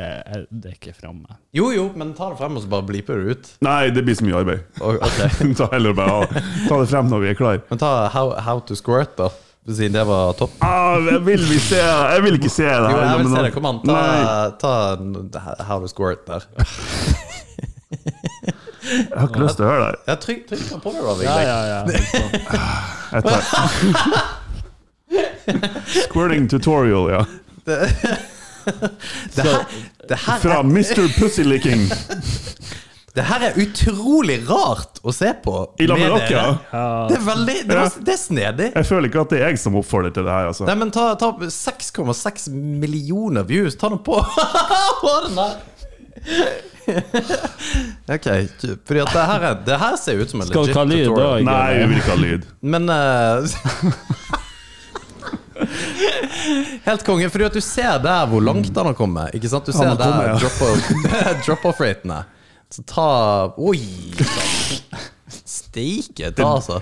Speaker 5: det er ikke framme.
Speaker 4: Jo, jo, men ta det frem, og så bare bliper du ut.
Speaker 3: Nei, det blir så mye arbeid.
Speaker 4: Og, ok.
Speaker 3: Ta heller bare av. Ta det frem når vi er klar
Speaker 4: Men ta how, how to squirt, da. Siden det var topp.
Speaker 3: Ah, jeg vil vi se Jeg vil ikke se det her.
Speaker 4: Jo, jeg vil se det. Kom an, ta,
Speaker 3: Nei,
Speaker 4: ta n- how to squirt der.
Speaker 3: jeg har ikke lyst til å høre det.
Speaker 4: Ja, trykk trykk på det, Robbie.
Speaker 5: Ja, ja, ja.
Speaker 3: Jeg tar Squirting tutorial, ja.
Speaker 4: Det, her, det, her
Speaker 3: Fra
Speaker 4: er,
Speaker 3: Mr. Pussylicking
Speaker 4: det her er utrolig rart å se på.
Speaker 3: i lag med
Speaker 4: med
Speaker 3: dere. ja.
Speaker 4: dere. Det er veldig Det, var,
Speaker 3: Ja.
Speaker 4: det er snedig.
Speaker 3: Jeg føler ikke at det er jeg som oppfordrer til det her, altså.
Speaker 4: Nei, men ta, ta 6,6 millioner views. Ta nå på på den der! OK. Fordi at det her, er, det her ser ut som en
Speaker 5: Skal
Speaker 4: legit
Speaker 5: du ta lyd da?
Speaker 4: tutorial.
Speaker 3: Nei, vi vil ikke ha lyd.
Speaker 4: Men eh, Helt konge. Fordi at du ser der hvor langt han har kommet. Ikke sant? Du ser
Speaker 3: har kommet, ja.
Speaker 4: der drop-off- drop-off-ratene. Så ta Oi! Steike ta, altså.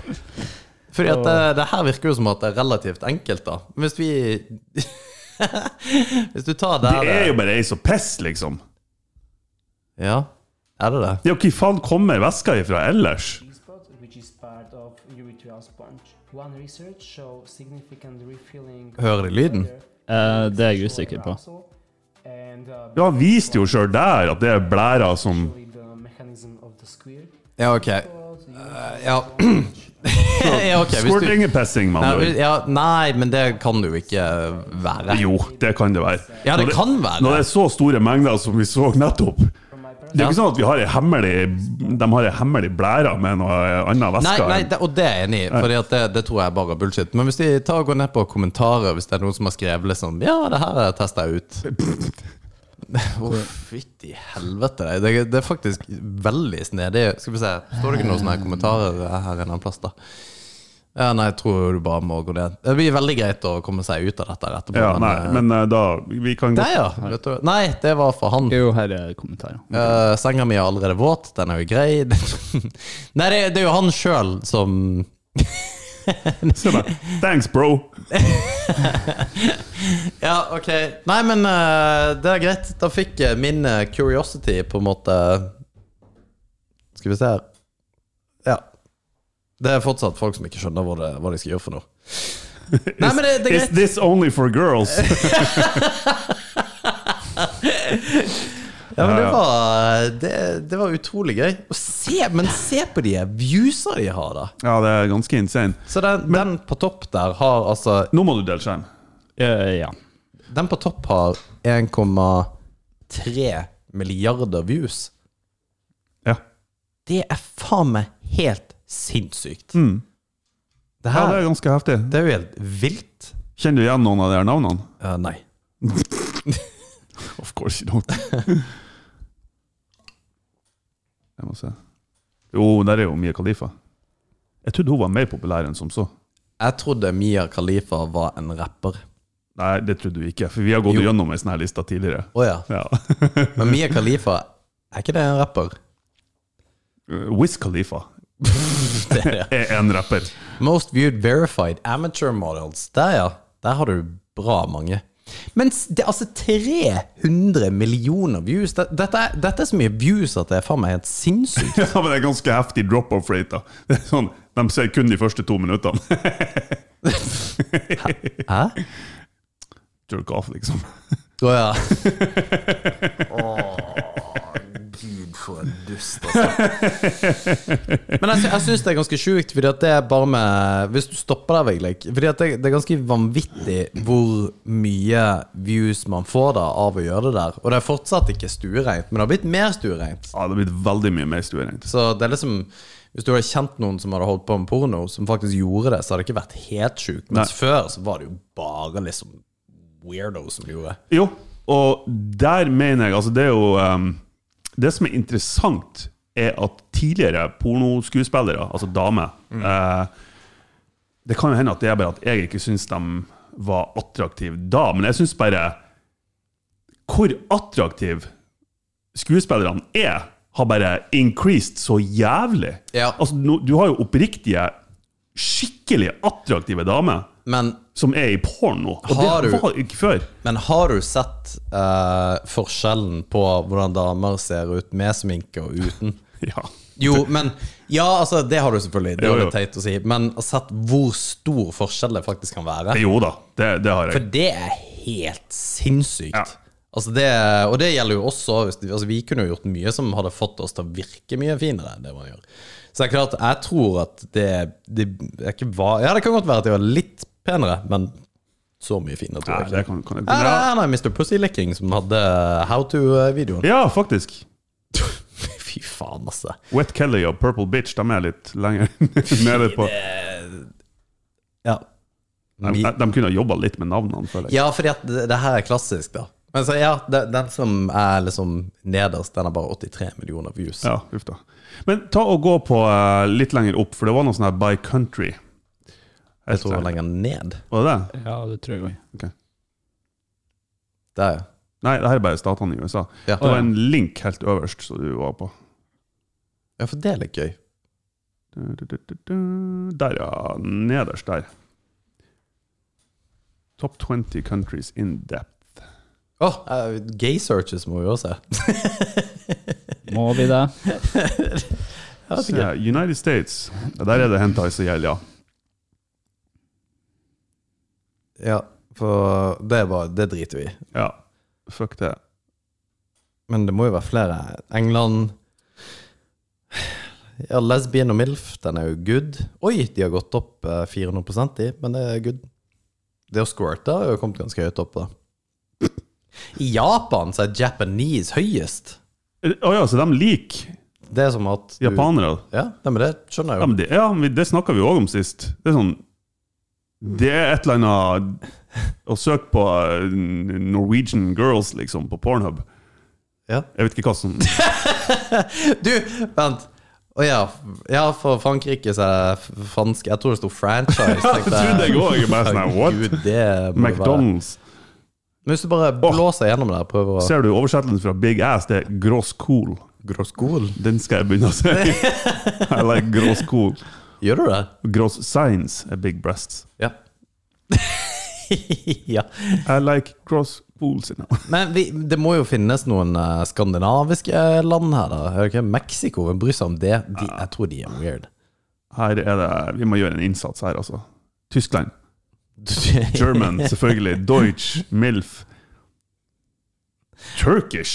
Speaker 4: Fordi at det, det her virker jo som at det er relativt enkelt, da. Men Hvis vi Hvis du tar der
Speaker 3: Det er jo bare ei som piss, liksom.
Speaker 4: eh, Ja, er det det?
Speaker 3: Det er jo Hvor faen kommer veska ifra ellers?
Speaker 6: spot, which is part of urethral sponge. One research shows significant refilling.
Speaker 4: Hører de lyden?
Speaker 5: Eh, det er jeg usikker på.
Speaker 6: And, uh,
Speaker 3: Ja, Han viste jo sjøl der at det er blæra som
Speaker 6: the mechanism of the square.
Speaker 4: Ja, ok. Eh, ja. ja, ok. Hvis du,
Speaker 3: Squirting er pissing, med
Speaker 4: Nei,
Speaker 3: andre ord.
Speaker 4: ja, nei, men det kan det jo ikke være.
Speaker 3: Jo, det kan det være.
Speaker 4: Ja, det kan være.
Speaker 3: Når det er så store mengder som vi så nettopp Det er jo ikke sånn at vi har ei hemmelig De har ei hemmelig blære med noe annet
Speaker 4: Nei,
Speaker 3: væske.
Speaker 4: nei det, og det er jeg enig i, for det, det tror jeg bare er bullshit. Men hvis de tar og går ned på kommentarer, hvis det er noen som har skrevet liksom Ja, det her testa jeg ut. Å, fytti helvete. Det, det er faktisk veldig snedig. Skal vi se, står det ikke noen sånne her kommentarer her en annen plass, da? Ja, nei, jeg tror du bare må gå ned. Det blir veldig greit å komme seg ut av dette her etterpå.
Speaker 3: ja, nei,
Speaker 4: eh,
Speaker 3: men eh, da Vi kan
Speaker 4: Nei,
Speaker 3: godt
Speaker 4: ja. vet du- Nei, det var for han.
Speaker 5: Jo, her er kommentarer.
Speaker 4: Eh, senga mi er allerede våt, den er jo grei. Nei, det, det er jo han sjøl som
Speaker 3: Så jeg bare Thanks, bro!
Speaker 4: Ja, ok. Nei, men eh, det er greit. Da fikk eh, min eh, curiosity på en måte Skal vi se her. Ja. Det er fortsatt folk som ikke skjønner hva, det, hva de skal gjøre for noe. Nei, men det, det er
Speaker 3: Is
Speaker 4: greit.
Speaker 3: this only for girls?
Speaker 4: Ja, men det, var, det, det var utrolig gøy. Og se, men se på de viewsa de har, da.
Speaker 3: Ja, det er ganske insane.
Speaker 4: Så den, den på topp der har altså
Speaker 3: Nå må du dele skjerm.
Speaker 5: Eh, ja.
Speaker 4: Den på topp har 1,3 milliarder views.
Speaker 3: Ja.
Speaker 4: Det er faen meg helt sinnssykt.
Speaker 3: Mm. ja,
Speaker 4: Det
Speaker 3: det
Speaker 4: her
Speaker 3: er ganske heftig.
Speaker 4: det er jo helt vilt.
Speaker 3: Kjenner du igjen noen av de her navnene?
Speaker 4: Eh, nei.
Speaker 3: Of course you don't. Jeg må se. Jo, der er jo Mia Khalifa. Jeg trodde hun var mer populær enn som så.
Speaker 4: Jeg trodde Mia Khalifa var en rapper.
Speaker 3: Nei, det trodde du ikke, for vi har gått
Speaker 4: Jo.
Speaker 3: gjennom ei sånn her liste tidligere.
Speaker 4: Å ja.
Speaker 3: Ja.
Speaker 4: Men Mia Khalifa, er ikke det en rapper?
Speaker 3: Wiz Khalifa
Speaker 4: Det er det.
Speaker 3: er en rapper.
Speaker 4: Most viewed verified amateur models. Der, ja. Der har du bra mange. Men s- det er altså 300 millioner views. Det- Dette er, dette er så mye views at det er faen meg helt sinnssykt.
Speaker 3: Ja, men det er ganske heftig drop-off rate, da. Det er sånn, de ser kun de første to minuttene.
Speaker 4: Hæ?
Speaker 3: Jerk off, liksom.
Speaker 4: Å ja. Gud, for en dust, altså. Men jeg, sy- jeg syns det er ganske sjukt, fordi at det er bare med Hvis du stopper der, Vigleik Fordi at det, det er ganske vanvittig hvor mye views man får da av å gjøre det der. Og det er fortsatt ikke stuereint, men det har blitt mer stuereint.
Speaker 3: Ja, det har blitt veldig mye mer stuereint.
Speaker 4: Så det er liksom Hvis du hadde kjent noen som hadde holdt på med porno, som faktisk gjorde det, så hadde det ikke vært helt sjukt. Mens før så var det jo bare liksom weirdos som gjorde det.
Speaker 3: Jo, og der mener jeg Altså, det er jo ehm, Det som er interessant, er at tidligere pornoskuespillere, altså damer
Speaker 4: Mm.
Speaker 3: eh, Det kan jo hende at det er bare at jeg ikke syns de var attraktive da, men jeg syns bare Hvor attraktive skuespillerne er, har bare increased så jævlig.
Speaker 4: Ja.
Speaker 3: Altså, nå- du har jo oppriktige, skikkelig attraktive damer
Speaker 4: Men
Speaker 3: som er i porno, og
Speaker 4: Har
Speaker 3: det
Speaker 4: du-
Speaker 3: var ikke før.
Speaker 4: Men har du sett eh, forskjellen på hvordan damer ser ut med sminke og uten?
Speaker 3: Ja.
Speaker 4: Jo, men Ja, altså, det har du selvfølgelig. Det
Speaker 3: Jo,
Speaker 4: er
Speaker 3: jo.
Speaker 4: jo teit å si. Men sett hvor stor forskjell det faktisk kan være.
Speaker 3: Eh, Jo da, det, det har jeg.
Speaker 4: For det er helt sinnssykt.
Speaker 3: Ja.
Speaker 4: Altså det, og det gjelder jo også hvis- altså Vi kunne jo gjort mye som hadde fått oss til å virke mye finere enn det man gjør. Så det er klart, jeg tror at det, det er ikke va- Ja, det kan godt være at jeg var litt penere, men så mye finere tror
Speaker 3: Nei,
Speaker 4: jeg ikke.
Speaker 3: det kan, kan jeg
Speaker 4: Nei,
Speaker 3: ja.
Speaker 4: nei, nei, Mr. Pussylicking som hadde eh, How to-videoen.
Speaker 3: ja, faktisk.
Speaker 4: Fy faen, altså.
Speaker 3: Wet Kelly og Purple Bitch de er litt lenger nede på
Speaker 4: Ja.
Speaker 3: De, de kunne ha jobba litt med navnene, føler jeg.
Speaker 4: ja, fordi at det, det her er klassisk, da. Men så ja, det, den som er liksom nederst, den har bare 83 millioner views.
Speaker 3: Ja, uff da. Men ta og gå på eh, litt lenger opp, for det var noe sånn her By Country.
Speaker 4: jeg tror den lenger ned.
Speaker 3: Var det det?
Speaker 5: ja, det tror jeg.
Speaker 4: Der, ja.
Speaker 3: Nei, det her er bare statene i USA.
Speaker 4: Ja.
Speaker 3: Det var en link helt øverst som du var på.
Speaker 4: ja, for det er litt gøy.
Speaker 3: Du, du, du, du. Der, ja. Nederst der. Top 20 countries in depth.
Speaker 4: Å, eh, gay searches må vi også se.
Speaker 5: Må vi det?
Speaker 3: Se, United States. Der er det hentai som gjelder, ja.
Speaker 4: Ja, for det, er bare, det driter vi i.
Speaker 3: Ja, fuck det.
Speaker 4: Men det må jo være flere. England Ja, lesbian og MILF, den er jo good. Oi, de har gått opp eh, 400 de, men det er good. Det å squirte har jo kommet ganske høyt opp, da. I Japan så er Japanese høyest.
Speaker 3: Å ja, så de liker
Speaker 4: Det er som at du-
Speaker 3: japanere?
Speaker 4: Ja, nei, men det skjønner
Speaker 3: Ja,
Speaker 4: jeg jo.
Speaker 3: men det, ja, men det snakka vi jo òg om sist. Det er sånn Det er et eller annet å søke på eh, Norwegian girls, liksom, på pornhub.
Speaker 4: Ja.
Speaker 3: Jeg vet ikke hva som
Speaker 4: Du, vent. Å ja. ja, for Frankrike så er det f- fransk Jeg tror det sto
Speaker 3: Ja, det
Speaker 4: franchise.
Speaker 3: trodde jeg også, jeg bare sånn her, what?
Speaker 4: Gud, det må jo være.
Speaker 3: McDonald's.
Speaker 4: Men Hvis du bare blåser gjennom der, prøver å
Speaker 3: Ser du oversettelsen fra Big Ass? Det er gross cool. Den skal jeg begynne å se. I like gross cool.
Speaker 4: Gjør du det?
Speaker 3: Gross signs er big breasts.
Speaker 4: Ja. ja.
Speaker 3: I like gross pools in them.
Speaker 4: Men vi, det må jo finnes noen eh, skandinaviske eh, land her, da. Er det ikke Mexico? Hvem bryr seg om det? De, jeg tror de er weird.
Speaker 3: Her er det, Vi må gjøre en innsats her, altså. Tyskland. German, selvfølgelig. Deutsch. Milf. Turkish.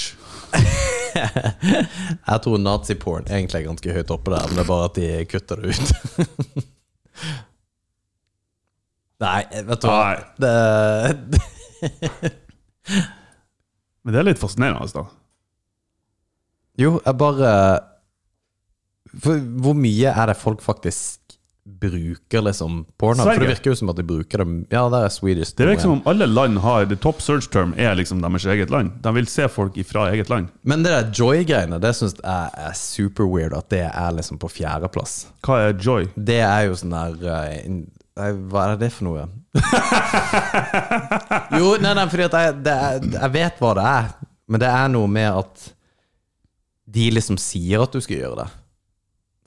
Speaker 4: jeg tror naziporn egentlig er ganske høyt oppe der, men det er bare at de kutter det ut. Nei, vet du hva
Speaker 3: Nei.
Speaker 4: det,
Speaker 3: Men det er litt fascinerende, altså.
Speaker 4: Jo, jeg bare for, Hvor mye er det folk faktisk bruker liksom porn? av? For det
Speaker 3: Sverige.
Speaker 4: virker jo som at de bruker det Ja, det er Swedish.
Speaker 3: Det virker
Speaker 4: porn, ja.
Speaker 3: som om alle land har The top search term er liksom deres eget land. De vil se folk ifra eget land.
Speaker 4: Men det der joy-greiene, det syns jeg er super weird at det er liksom på fjerdeplass.
Speaker 3: Hva er joy?
Speaker 4: Det er jo sånn der eh, in- nei, Hva er det for noe? jo, nei, nei, fordi at jeg, det er, jeg vet hva det er, men det er noe med at de liksom sier at du skal gjøre det.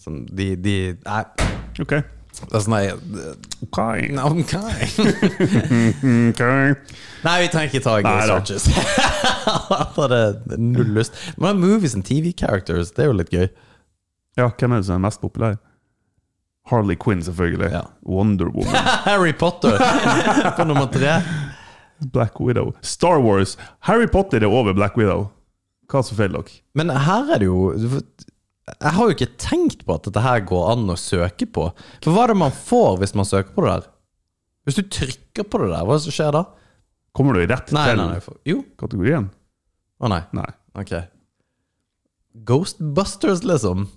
Speaker 4: Sånn, de, de Nei.
Speaker 3: Ok.
Speaker 4: Det er sånn nei,
Speaker 3: Ok.
Speaker 4: no, okay.
Speaker 3: Ok.
Speaker 4: Nei, vi trenger ikke ta gay
Speaker 3: Nei da.
Speaker 4: searches. Da er det null lyst. Men movies and TV characters, det er jo litt gøy.
Speaker 3: Ja, hvem er det som er mest populær? Harley Quinn, selvfølgelig.
Speaker 4: Ja.
Speaker 3: Wonder Woman.
Speaker 4: Harry Potter på nummer tre.
Speaker 3: Black Widow. Star Wars. Harry Potter er over Black Widow. Hva som feiler dere?
Speaker 4: Men her er det jo Jeg har jo ikke tenkt på at dette her går an å søke på. For hva er det man får hvis man søker på det der? Hvis du trykker på det der, hva er det som skjer da?
Speaker 3: Kommer du rett
Speaker 4: Nei,
Speaker 3: til
Speaker 4: nei, nei. for- Jo.
Speaker 3: kategorien?
Speaker 4: Å nei.
Speaker 3: Nei.
Speaker 4: Ok. Ghostbusters, liksom.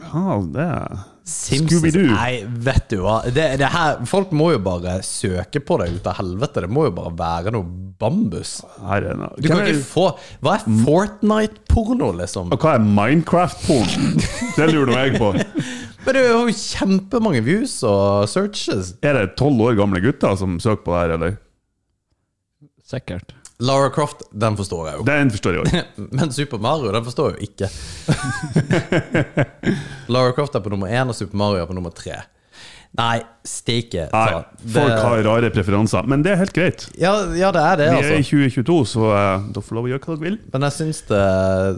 Speaker 3: Ja, det er
Speaker 4: Simpsons.
Speaker 3: Scooby-Doo.
Speaker 4: Nei, vet du hva. Det, det her, folk må jo bare søke på det ut av helvete. Det må jo bare være noe bambus.
Speaker 3: Her er noe.
Speaker 4: Du kan ikke få Hva er Fortnite-porno, liksom?
Speaker 3: Og hva er Minecraft-porn? Det lurer nå jeg på.
Speaker 4: Men det har jo kjempemange views og searches.
Speaker 3: Er det tolv år gamle gutter som søker på det her, eller?
Speaker 5: Sikkert.
Speaker 4: Lara Croft, den forstår jeg jo.
Speaker 3: Den forstår jeg òg.
Speaker 4: Men Super Mario, den forstår jeg jo ikke. Lara Croft er på nummer én, og Super Mario er på nummer tre. Nei, steike ta.
Speaker 3: Folk har rare preferanser, men det er helt greit.
Speaker 4: ja, ja, det er det,
Speaker 3: Vi er i
Speaker 4: altså.
Speaker 3: 2022, så eh, dere får lov å gjøre hva dere vil.
Speaker 4: Men jeg syns det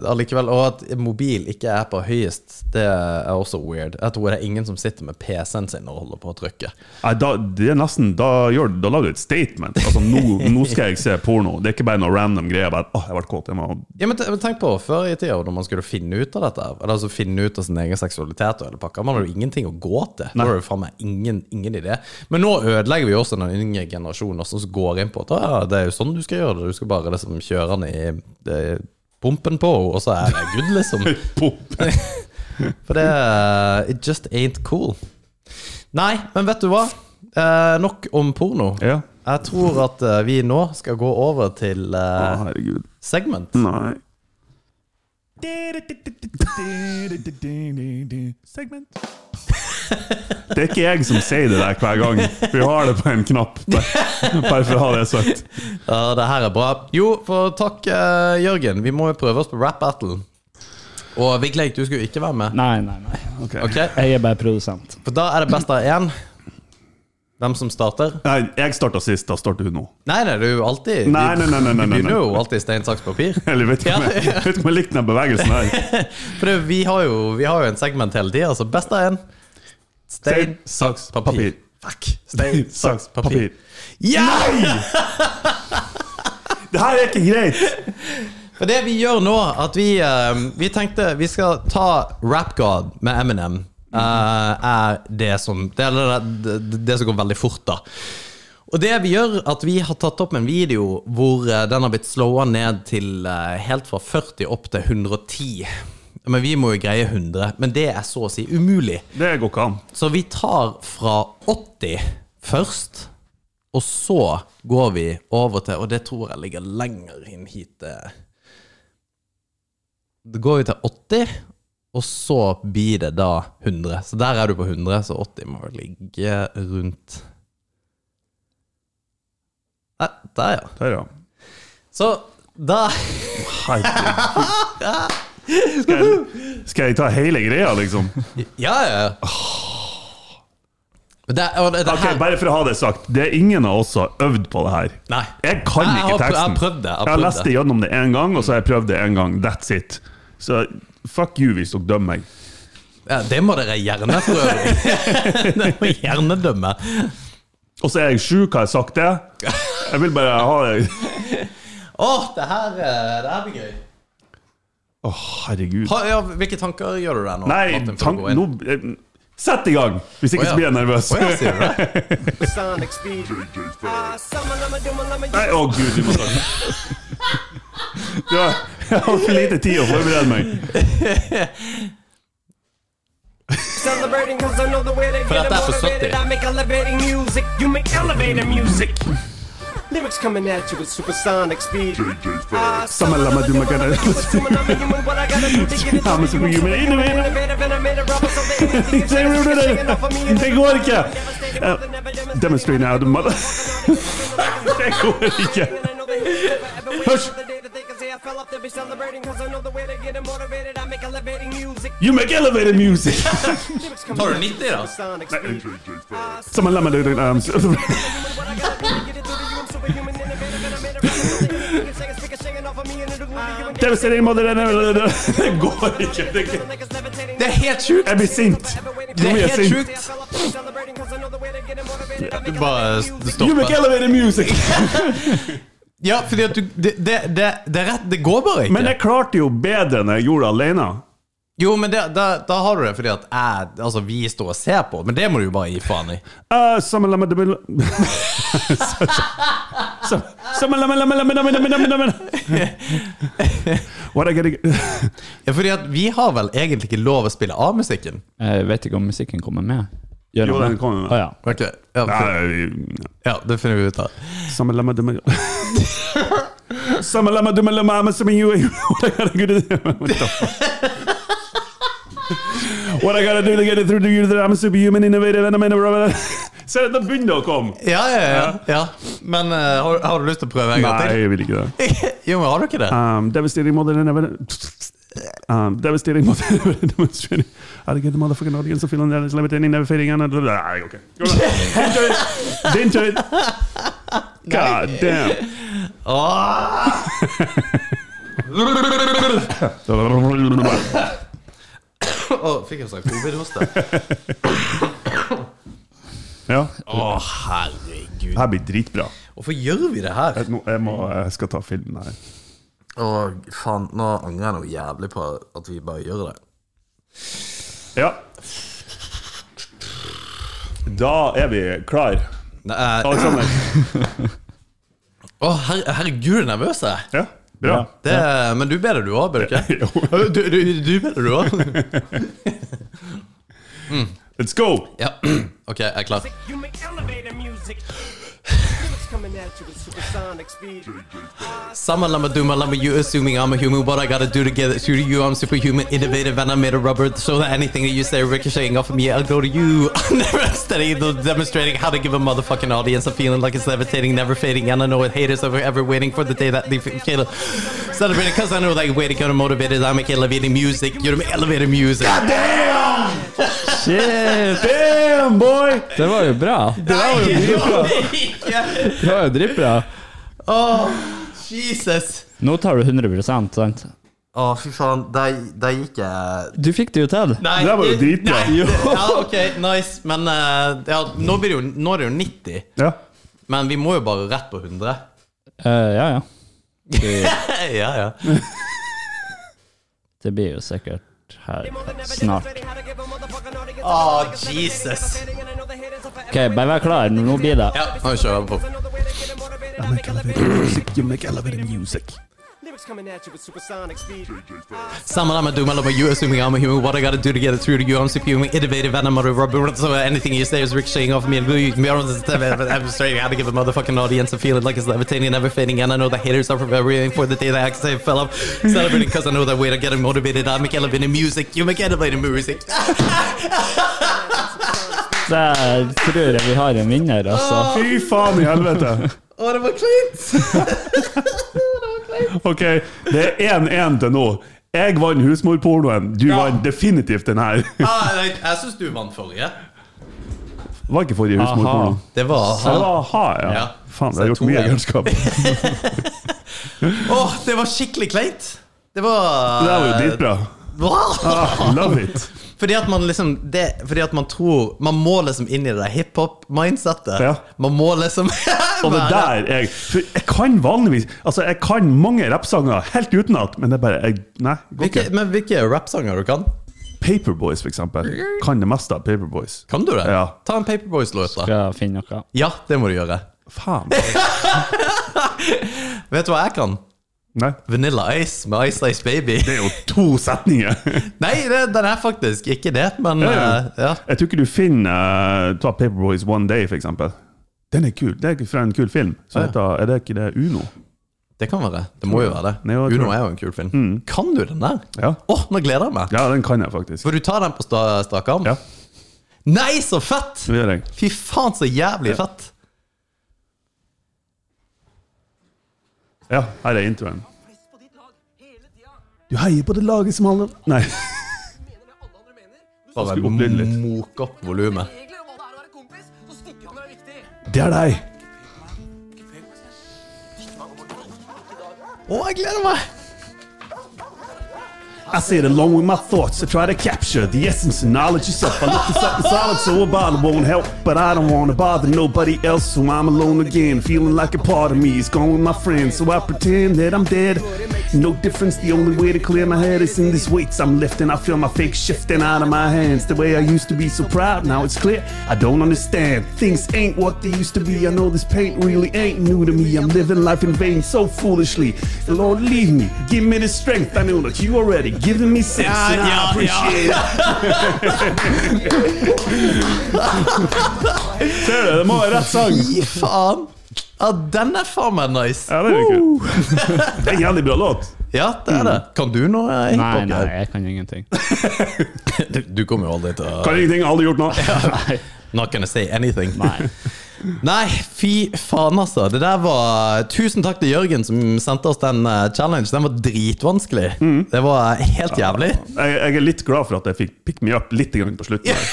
Speaker 4: allikevel Og at mobil ikke er på høyest, det er også weird. Jeg tror det er ingen som sitter med PC-en sin og holder på å trykke.
Speaker 3: Nei, da, det er nesten, da, gjør, da lager du et statement. Altså, nå, nå skal jeg se porno. Det er ikke bare noe random greier. Bare, åh, jeg ble kåt. Jeg må...
Speaker 4: Ja, men te- men tenk på Før i tida, når man skulle finne ut av dette, her, eller altså finne ut av sin egen seksualitet og hele pakka, man hadde jo ingenting å gå til. Da var det jo faen meg ingen, ingen idé. Men nå ødelegger vi jo også den yngre generasjonen også, som går inn på at ja, det er jo sånn du skal gjøre det, du skal bare liksom kjøre den i eh, pumpen på, og så er det good, liksom.
Speaker 3: Pop.
Speaker 4: For det eh, It just ain't cool. Nei, men vet du hva? Eh, nok om porno.
Speaker 3: Ja.
Speaker 4: Jeg tror at eh, vi nå skal gå over til
Speaker 3: Å,
Speaker 4: eh,
Speaker 3: herregud.
Speaker 4: segment.
Speaker 3: Nei.
Speaker 7: Segment.
Speaker 3: Det er ikke jeg som sier det der hver gang. Vi har det på en knapp. Bare, bare for å ha det sagt.
Speaker 4: Ja, det her er bra. Jo, for takk, eh, Jørgen. Vi må jo prøve oss på rap battle. Og Vigleik, du skulle jo ikke være med.
Speaker 5: Nei, nei, nei.
Speaker 3: Ok.
Speaker 4: Ok,
Speaker 5: Jeg er bare produsent.
Speaker 4: For da er det best av én. Hvem som starter?
Speaker 3: Nei, jeg starta sist. Da starter hun nå.
Speaker 4: Nei, nei, det er jo alltid
Speaker 3: Nei, nei, nei, nei, nei,
Speaker 4: Du
Speaker 3: nei, nei.
Speaker 4: begynner jo alltid stein, saks, papir.
Speaker 3: Eller vet ikke om jeg, vet ikke om jeg likte den bevegelsen der.
Speaker 4: For det, vi, har jo, vi har jo en segment hele tida, så best av én. Stein,
Speaker 3: Stein, saks, papir.
Speaker 4: Fuck. Stein, saks, papir. Ja!
Speaker 3: Nei! Det her er ikke greit.
Speaker 4: For det vi gjør nå, at vi, eh, vi tenkte vi skal ta Rap God med Eminem. eh, er det som det, eller det, det, det som går veldig fort, da. Og det vi gjør, at vi har tatt opp en video hvor eh, den har blitt slåa ned til eh, helt fra 40 opp til 110. Men vi må jo greie 100. Men det er så å si umulig.
Speaker 3: Det går ikke an.
Speaker 4: Så vi tar fra 80 først, og så går vi over til Og det tror jeg ligger lenger inn hit. eh. Da går vi til 80, og så blir det da 100. Så der er du på 100, så 80 må vel ligge rundt Nei, Der, ja.
Speaker 3: Der, ja.
Speaker 4: Så da
Speaker 3: Herregud. Skal jeg, skal jeg ta hele greia, liksom?
Speaker 4: Ja, ja. Men Det, og det, det
Speaker 3: Ok,
Speaker 4: her,
Speaker 3: Bare for å ha det sagt, det er ingen av oss som har øvd på det her.
Speaker 4: Nei.
Speaker 3: Jeg kan
Speaker 4: Jeg har
Speaker 3: ikke
Speaker 4: prø-
Speaker 3: teksten.
Speaker 4: jeg har prøvd det, jeg har
Speaker 3: Jeg har
Speaker 4: prøvd
Speaker 3: lest det gjennom det én gang, og så har jeg prøvd det én gang. That's it. Så fuck you hvis dere dømmer meg.
Speaker 4: ja, det må dere gjerne prøve. det må jeg gjerne dømme.
Speaker 3: Og så er jeg sjuk, har jeg sagt det? Jeg vil bare ha det
Speaker 4: Å, det her, eh, det her blir gøy.
Speaker 3: Å, herregud.
Speaker 4: Ha, ja, hvilke tanker gjør du deg nå?
Speaker 3: Nei,
Speaker 4: Martin, før
Speaker 3: tank,
Speaker 4: du går inn?
Speaker 3: nå eh, Sett i gang! Hvis ikke
Speaker 4: Å, ja.
Speaker 3: så blir jeg nervøs.
Speaker 4: Å, ja, sier du det?
Speaker 7: Sonic speed. Ah, summa lumma dumma lumma
Speaker 3: Nei, å gud, vi må starte. Du har jeg har for lite tid å forberede meg.
Speaker 7: celebrating cause I know the way they
Speaker 4: For
Speaker 7: get
Speaker 4: dette er for
Speaker 7: motivated.
Speaker 4: 70.
Speaker 7: I make elevating music, you make elevator music. Lyrics coming at you with supersonic speed. Ah,
Speaker 3: Summa
Speaker 7: summa
Speaker 3: lumma
Speaker 7: lumma
Speaker 3: dumma
Speaker 7: dumma lumma
Speaker 3: lumma
Speaker 7: summa lumma dumma what I gotta do to get it.
Speaker 3: Thomas
Speaker 7: done.
Speaker 3: Superhuman, innovator.
Speaker 7: Innovative, innovative, rubber, so they can take it.
Speaker 3: Det går ikke! Eh, Demonstrate now, the mother... Det går ikke. Hush. You make elevator music!
Speaker 4: Tar du 90, da?
Speaker 3: Som en lemon doodle arms. Devastating mother... Det går ikke. Det går.
Speaker 4: Det er helt sjukt!
Speaker 3: Jeg blir sint.
Speaker 4: Det
Speaker 3: Nå
Speaker 4: er
Speaker 3: blir jeg
Speaker 4: helt
Speaker 3: sint.
Speaker 4: sjukt! Du bare
Speaker 3: You make
Speaker 4: stopper.
Speaker 3: elevator music!
Speaker 4: Ja, fordi at du Det, det, det, det er rett, det går bare ikke.
Speaker 3: Men jeg klarte jo bedre når jeg gjorde det alene.
Speaker 4: Jo, men det, da, da har du det fordi at jeg, altså, vi står og ser på, men det må du jo bare gi faen i.
Speaker 3: Uh, Sammen med lemon... Sammen med lemon... lemon- lemon- lemon- lemon- lemon. What I gotta get...
Speaker 4: Ja, fordi at vi har vel egentlig ikke lov å spille av musikken?
Speaker 5: Jeg vet ikke om musikken kommer med. Gjør
Speaker 3: Jo,
Speaker 5: den
Speaker 3: den kommer med.
Speaker 5: Å, ja.
Speaker 4: Ok, ja, for,
Speaker 3: Nei,
Speaker 4: ja det finner vi ut av.
Speaker 3: Samme lemma dumme Samme lemma dumme lemma amma samme you What I gotta do to What the fuck? What I gotta do to get it through to you that I'm a superhuman innovative and I'm in a rubber Se, da begynner det å komme!
Speaker 4: Ja, ja, ja. ja. Men eh, har, har du lyst til å prøve en gang
Speaker 3: Nei,
Speaker 4: til?
Speaker 3: jeg vil ikke det.
Speaker 4: Jo, men har du ikke det?
Speaker 3: Um, devastating mother than ever um, Devastating mother than ever demonstrating How to get the motherfucking audience to feel that it's limited never fading and Nei, ok. Din tur! Din tur! God
Speaker 4: Åh!
Speaker 3: damn!
Speaker 4: Åh, fikk jeg sagt covid-hoste?
Speaker 3: Ja.
Speaker 4: Å, herregud.
Speaker 3: Det her blir dritbra.
Speaker 4: Hvorfor gjør vi det her?
Speaker 3: Jeg, nå, jeg, må, jeg skal ta filmen her.
Speaker 4: Å, faen, nå angrer jeg noe jævlig på at vi bare gjør det.
Speaker 3: Ja. Da er vi klar.
Speaker 4: Nei, eh, Å,
Speaker 3: Alexander.
Speaker 4: her, herregud, jeg er nervøs jeg.
Speaker 3: Ja, bra.
Speaker 4: Det, men du bedre du òg, bør du ikke?
Speaker 3: Jo.
Speaker 4: Du, du, du bedre du òg?
Speaker 3: Let's go!
Speaker 4: Ja, OK, jeg er klar.
Speaker 7: You make elevator music. Lyrics coming at you with supersonic speed.
Speaker 4: Summer lama duma lama, you assuming I'm a human. What I gotta do to get it through to you? I'm superhuman, innovative, and I made a rubber. So that anything that you say ricocheting off of me, I'll go to you. I'm never steady, though demonstrating how to give a motherfucking audience a feeling like it's levitating, never fading. And I know it haters are forever waiting for the day that they feel celebrating. Cause I know that you're waiting, kind of motivated. I make elevating music. You're the elevator music.
Speaker 3: Damn!
Speaker 5: Shit!
Speaker 3: Damn, boy!
Speaker 5: Det var jo bra. Det
Speaker 4: Yeah.
Speaker 5: var jo dritbra.
Speaker 4: Oh, Jesus.
Speaker 5: Nå tar du 100 sant?
Speaker 4: Å, fy faen. Der, der gikk eh, jeg
Speaker 5: Du fikk det jo til.
Speaker 4: Nei,
Speaker 3: Det var jo dritbra.
Speaker 4: nei, det- Ja, ok, nice. Men eh, ja, nå, blir det jo, nå er det jo 90.
Speaker 3: Ja.
Speaker 4: Men vi må jo bare rett på 100.
Speaker 5: Eh, ja, ja.
Speaker 4: ja, ja.
Speaker 5: Det blir jo sikkert her snart.
Speaker 4: Oh, Jesus.
Speaker 5: OK, bare vær klar. Nå blir det.
Speaker 4: Ja, nå kjører vi på.
Speaker 3: You make elevator music.
Speaker 7: Lyrics coming at you with supersonic speed.
Speaker 4: Someone I'm a doom, I love you, assuming I'm a human. What I gotta do to get it through to you? I'm superhuman, innovative, and I'm a rubber. So uh, anything you say is ricocheting off me. And you can be on the step and I'm straight how to give a motherfucking audience a feeling like it's levitating and never fading. And I know the haters are forever waiting for the day that I can say fell off. Celebrating because I know that way to get them motivated. I make elevator music. You make elevator music.
Speaker 5: Der tror jeg vi har en vinner, altså.
Speaker 3: Fy faen i helvete!
Speaker 4: Å, det var cleant!
Speaker 3: Ok, det er 1-1 til nå. Jeg vant husmorpornoen. Du
Speaker 4: Ja.
Speaker 3: vant definitivt den her.
Speaker 4: Ah, nei, jeg syns du vant forrige.
Speaker 3: Var ikke forrige husmorporno.
Speaker 4: Det var
Speaker 3: Ja, det var aha, ja.
Speaker 4: Ja.
Speaker 3: Faen, jeg har
Speaker 4: Så det er
Speaker 3: gjort
Speaker 4: to
Speaker 3: mye
Speaker 4: jeg-
Speaker 3: jernskap. Det
Speaker 4: Åh, det var skikkelig kleint. Det var
Speaker 3: der var jo dritbra.
Speaker 4: Hva?
Speaker 3: Ah, love it.
Speaker 4: Fordi at man liksom det, Fordi at man tror Man må liksom inn i det der hiphop-mindsettet.
Speaker 3: Ja.
Speaker 4: Man må liksom
Speaker 3: Og det der jeg For jeg kan vanligvis Altså, jeg kan mange rappsanger helt utenat, men det er bare jeg, Nei, det går
Speaker 4: Hvilke,
Speaker 3: ikke.
Speaker 4: men hvilke rappsanger du kan?
Speaker 3: Paperboys, for eksempel. Kan det meste av Paperboys.
Speaker 4: Kan du det?
Speaker 3: Ja.
Speaker 4: Ta en Paperboys-låt, da.
Speaker 5: Skal jeg finne noe.
Speaker 4: Ja, det må du gjøre.
Speaker 3: Faen. altså.
Speaker 4: Vet du hva jeg kan?
Speaker 3: Nei.
Speaker 4: Vanilla Ice med Ice Ice Baby.
Speaker 3: Det er jo to setninger.
Speaker 4: Nei, det, den er faktisk ikke det, men
Speaker 3: Ja, ja.
Speaker 4: eh, ja.
Speaker 3: Jeg tror ikke du finner eh, Ta Paperboys One Day, for eksempel. Den er kul. Det er fra en kul film. Så
Speaker 4: Ja.
Speaker 3: heter, er det ikke det Uno?
Speaker 4: Det kan være. Det må jo være det.
Speaker 3: Nei, jeg tror det.
Speaker 4: Uno
Speaker 3: Mm.
Speaker 4: er jo en kul film. Kan du den der? Åh,
Speaker 3: Ja.
Speaker 4: nå gleder jeg meg!
Speaker 3: ja, den kan jeg faktisk.
Speaker 4: Får du ta den på sta strak arm?
Speaker 3: Ja.
Speaker 4: Nei, så fett!
Speaker 3: Det gjør jeg.
Speaker 4: Fy faen, så jævlig fett!
Speaker 3: Ja, her er introen. Du heier på det laget som handler Nei.
Speaker 4: Bare
Speaker 3: skulle opplyde litt.
Speaker 4: moke opp volumet.
Speaker 3: Det er deg.
Speaker 4: Å, jeg gleder meg!
Speaker 3: I sit along with my thoughts to try to capture the essence and knowledge yourself. I look for something solid, so a bottle won't help. But I don't want to bother nobody else, so I'm alone again. Feeling like a part of me is gone with my friends, so I pretend that I'm dead. No difference, the only way to clear my head is in these weights I'm lifting. I feel my fake shifting out of my hands. The way I used to be so proud, now it's clear I don't understand. Things ain't what they used to be. I know this pain really ain't new to me. I'm living life in vain so foolishly. Lord, leave me. Give me the strength. I know that you already given me sense, and I appreciate it. Ser du, det må være rett sang.
Speaker 4: Fy faen! Ja, den er faen meg nice!
Speaker 3: Ja, det er kult. Det er en jævlig bra låt.
Speaker 4: Ja, det er det. Kan du noe eh,
Speaker 5: Nei,
Speaker 4: hiphop?
Speaker 5: nei,
Speaker 4: her?
Speaker 5: jeg kan ingenting.
Speaker 4: Du, du kommer jo aldri til å
Speaker 3: Kan ingenting, aldri gjort noe.
Speaker 4: Not gonna say anything.
Speaker 5: Nei.
Speaker 4: Nei, fy faen, altså. Det der var Tusen takk til Jørgen som sendte oss den eh, challenge. Den var dritvanskelig.
Speaker 3: Mm.
Speaker 4: Det var helt jævlig.
Speaker 3: Jeg, jeg er litt glad for at jeg fikk pick me up litt grann på slutten. her.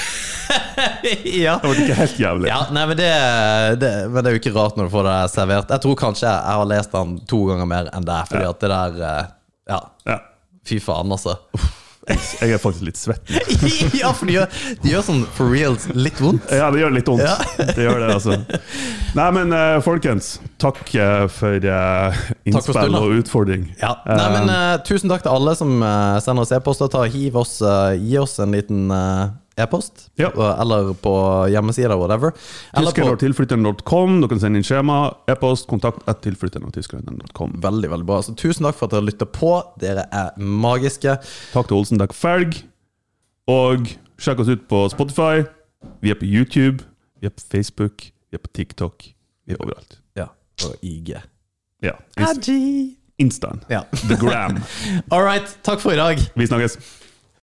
Speaker 4: ja.
Speaker 3: Det var ikke helt jævlig.
Speaker 4: ja. Nei, men det, det, men det er jo ikke rart når du får det servert. Jeg tror kanskje jeg har lest den to ganger mer enn deg, fordi at det der eh, Ja.
Speaker 3: Ja.
Speaker 4: Fy faen, altså.
Speaker 3: Jeg er faktisk litt svett. nå.
Speaker 4: ja, for det gjør, det gjør sånn for reals litt vondt.
Speaker 3: Ja, det gjør litt vondt.
Speaker 4: Ja.
Speaker 3: Det gjør det, altså. Nei, men eh, folkens, takk eh, for eh,
Speaker 4: Takk for
Speaker 3: innspill
Speaker 4: støtten.
Speaker 3: og utfordring.
Speaker 4: Ja. Nei, men eh, Tusen takk til alle som eh, sender oss e-poster. Ta og Hiv oss, eh, gi oss en liten eh, e-post.
Speaker 3: Ja.
Speaker 4: Og- Eller på hjemmesida, whatever. Eller på
Speaker 3: Tyskernertilflytteren.com. Du kan sende inn skjema, e-post, kontakt at tilflytteren.tyskerner.com.
Speaker 4: Veldig, veldig bra. Så Tusen takk for at dere lytter på. Dere er magiske.
Speaker 3: Takk til Olsen, takk Felg. Og sjekk oss ut på Spotify. Vi er på YouTube, vi er på Facebook, vi er på TikTok. Vi er overalt.
Speaker 4: Ja, og IG.
Speaker 3: Ja. Inst Instaen.
Speaker 4: Ah, Ja.
Speaker 3: The Gram.
Speaker 4: All right. Takk for i dag.
Speaker 3: Vi snakkes.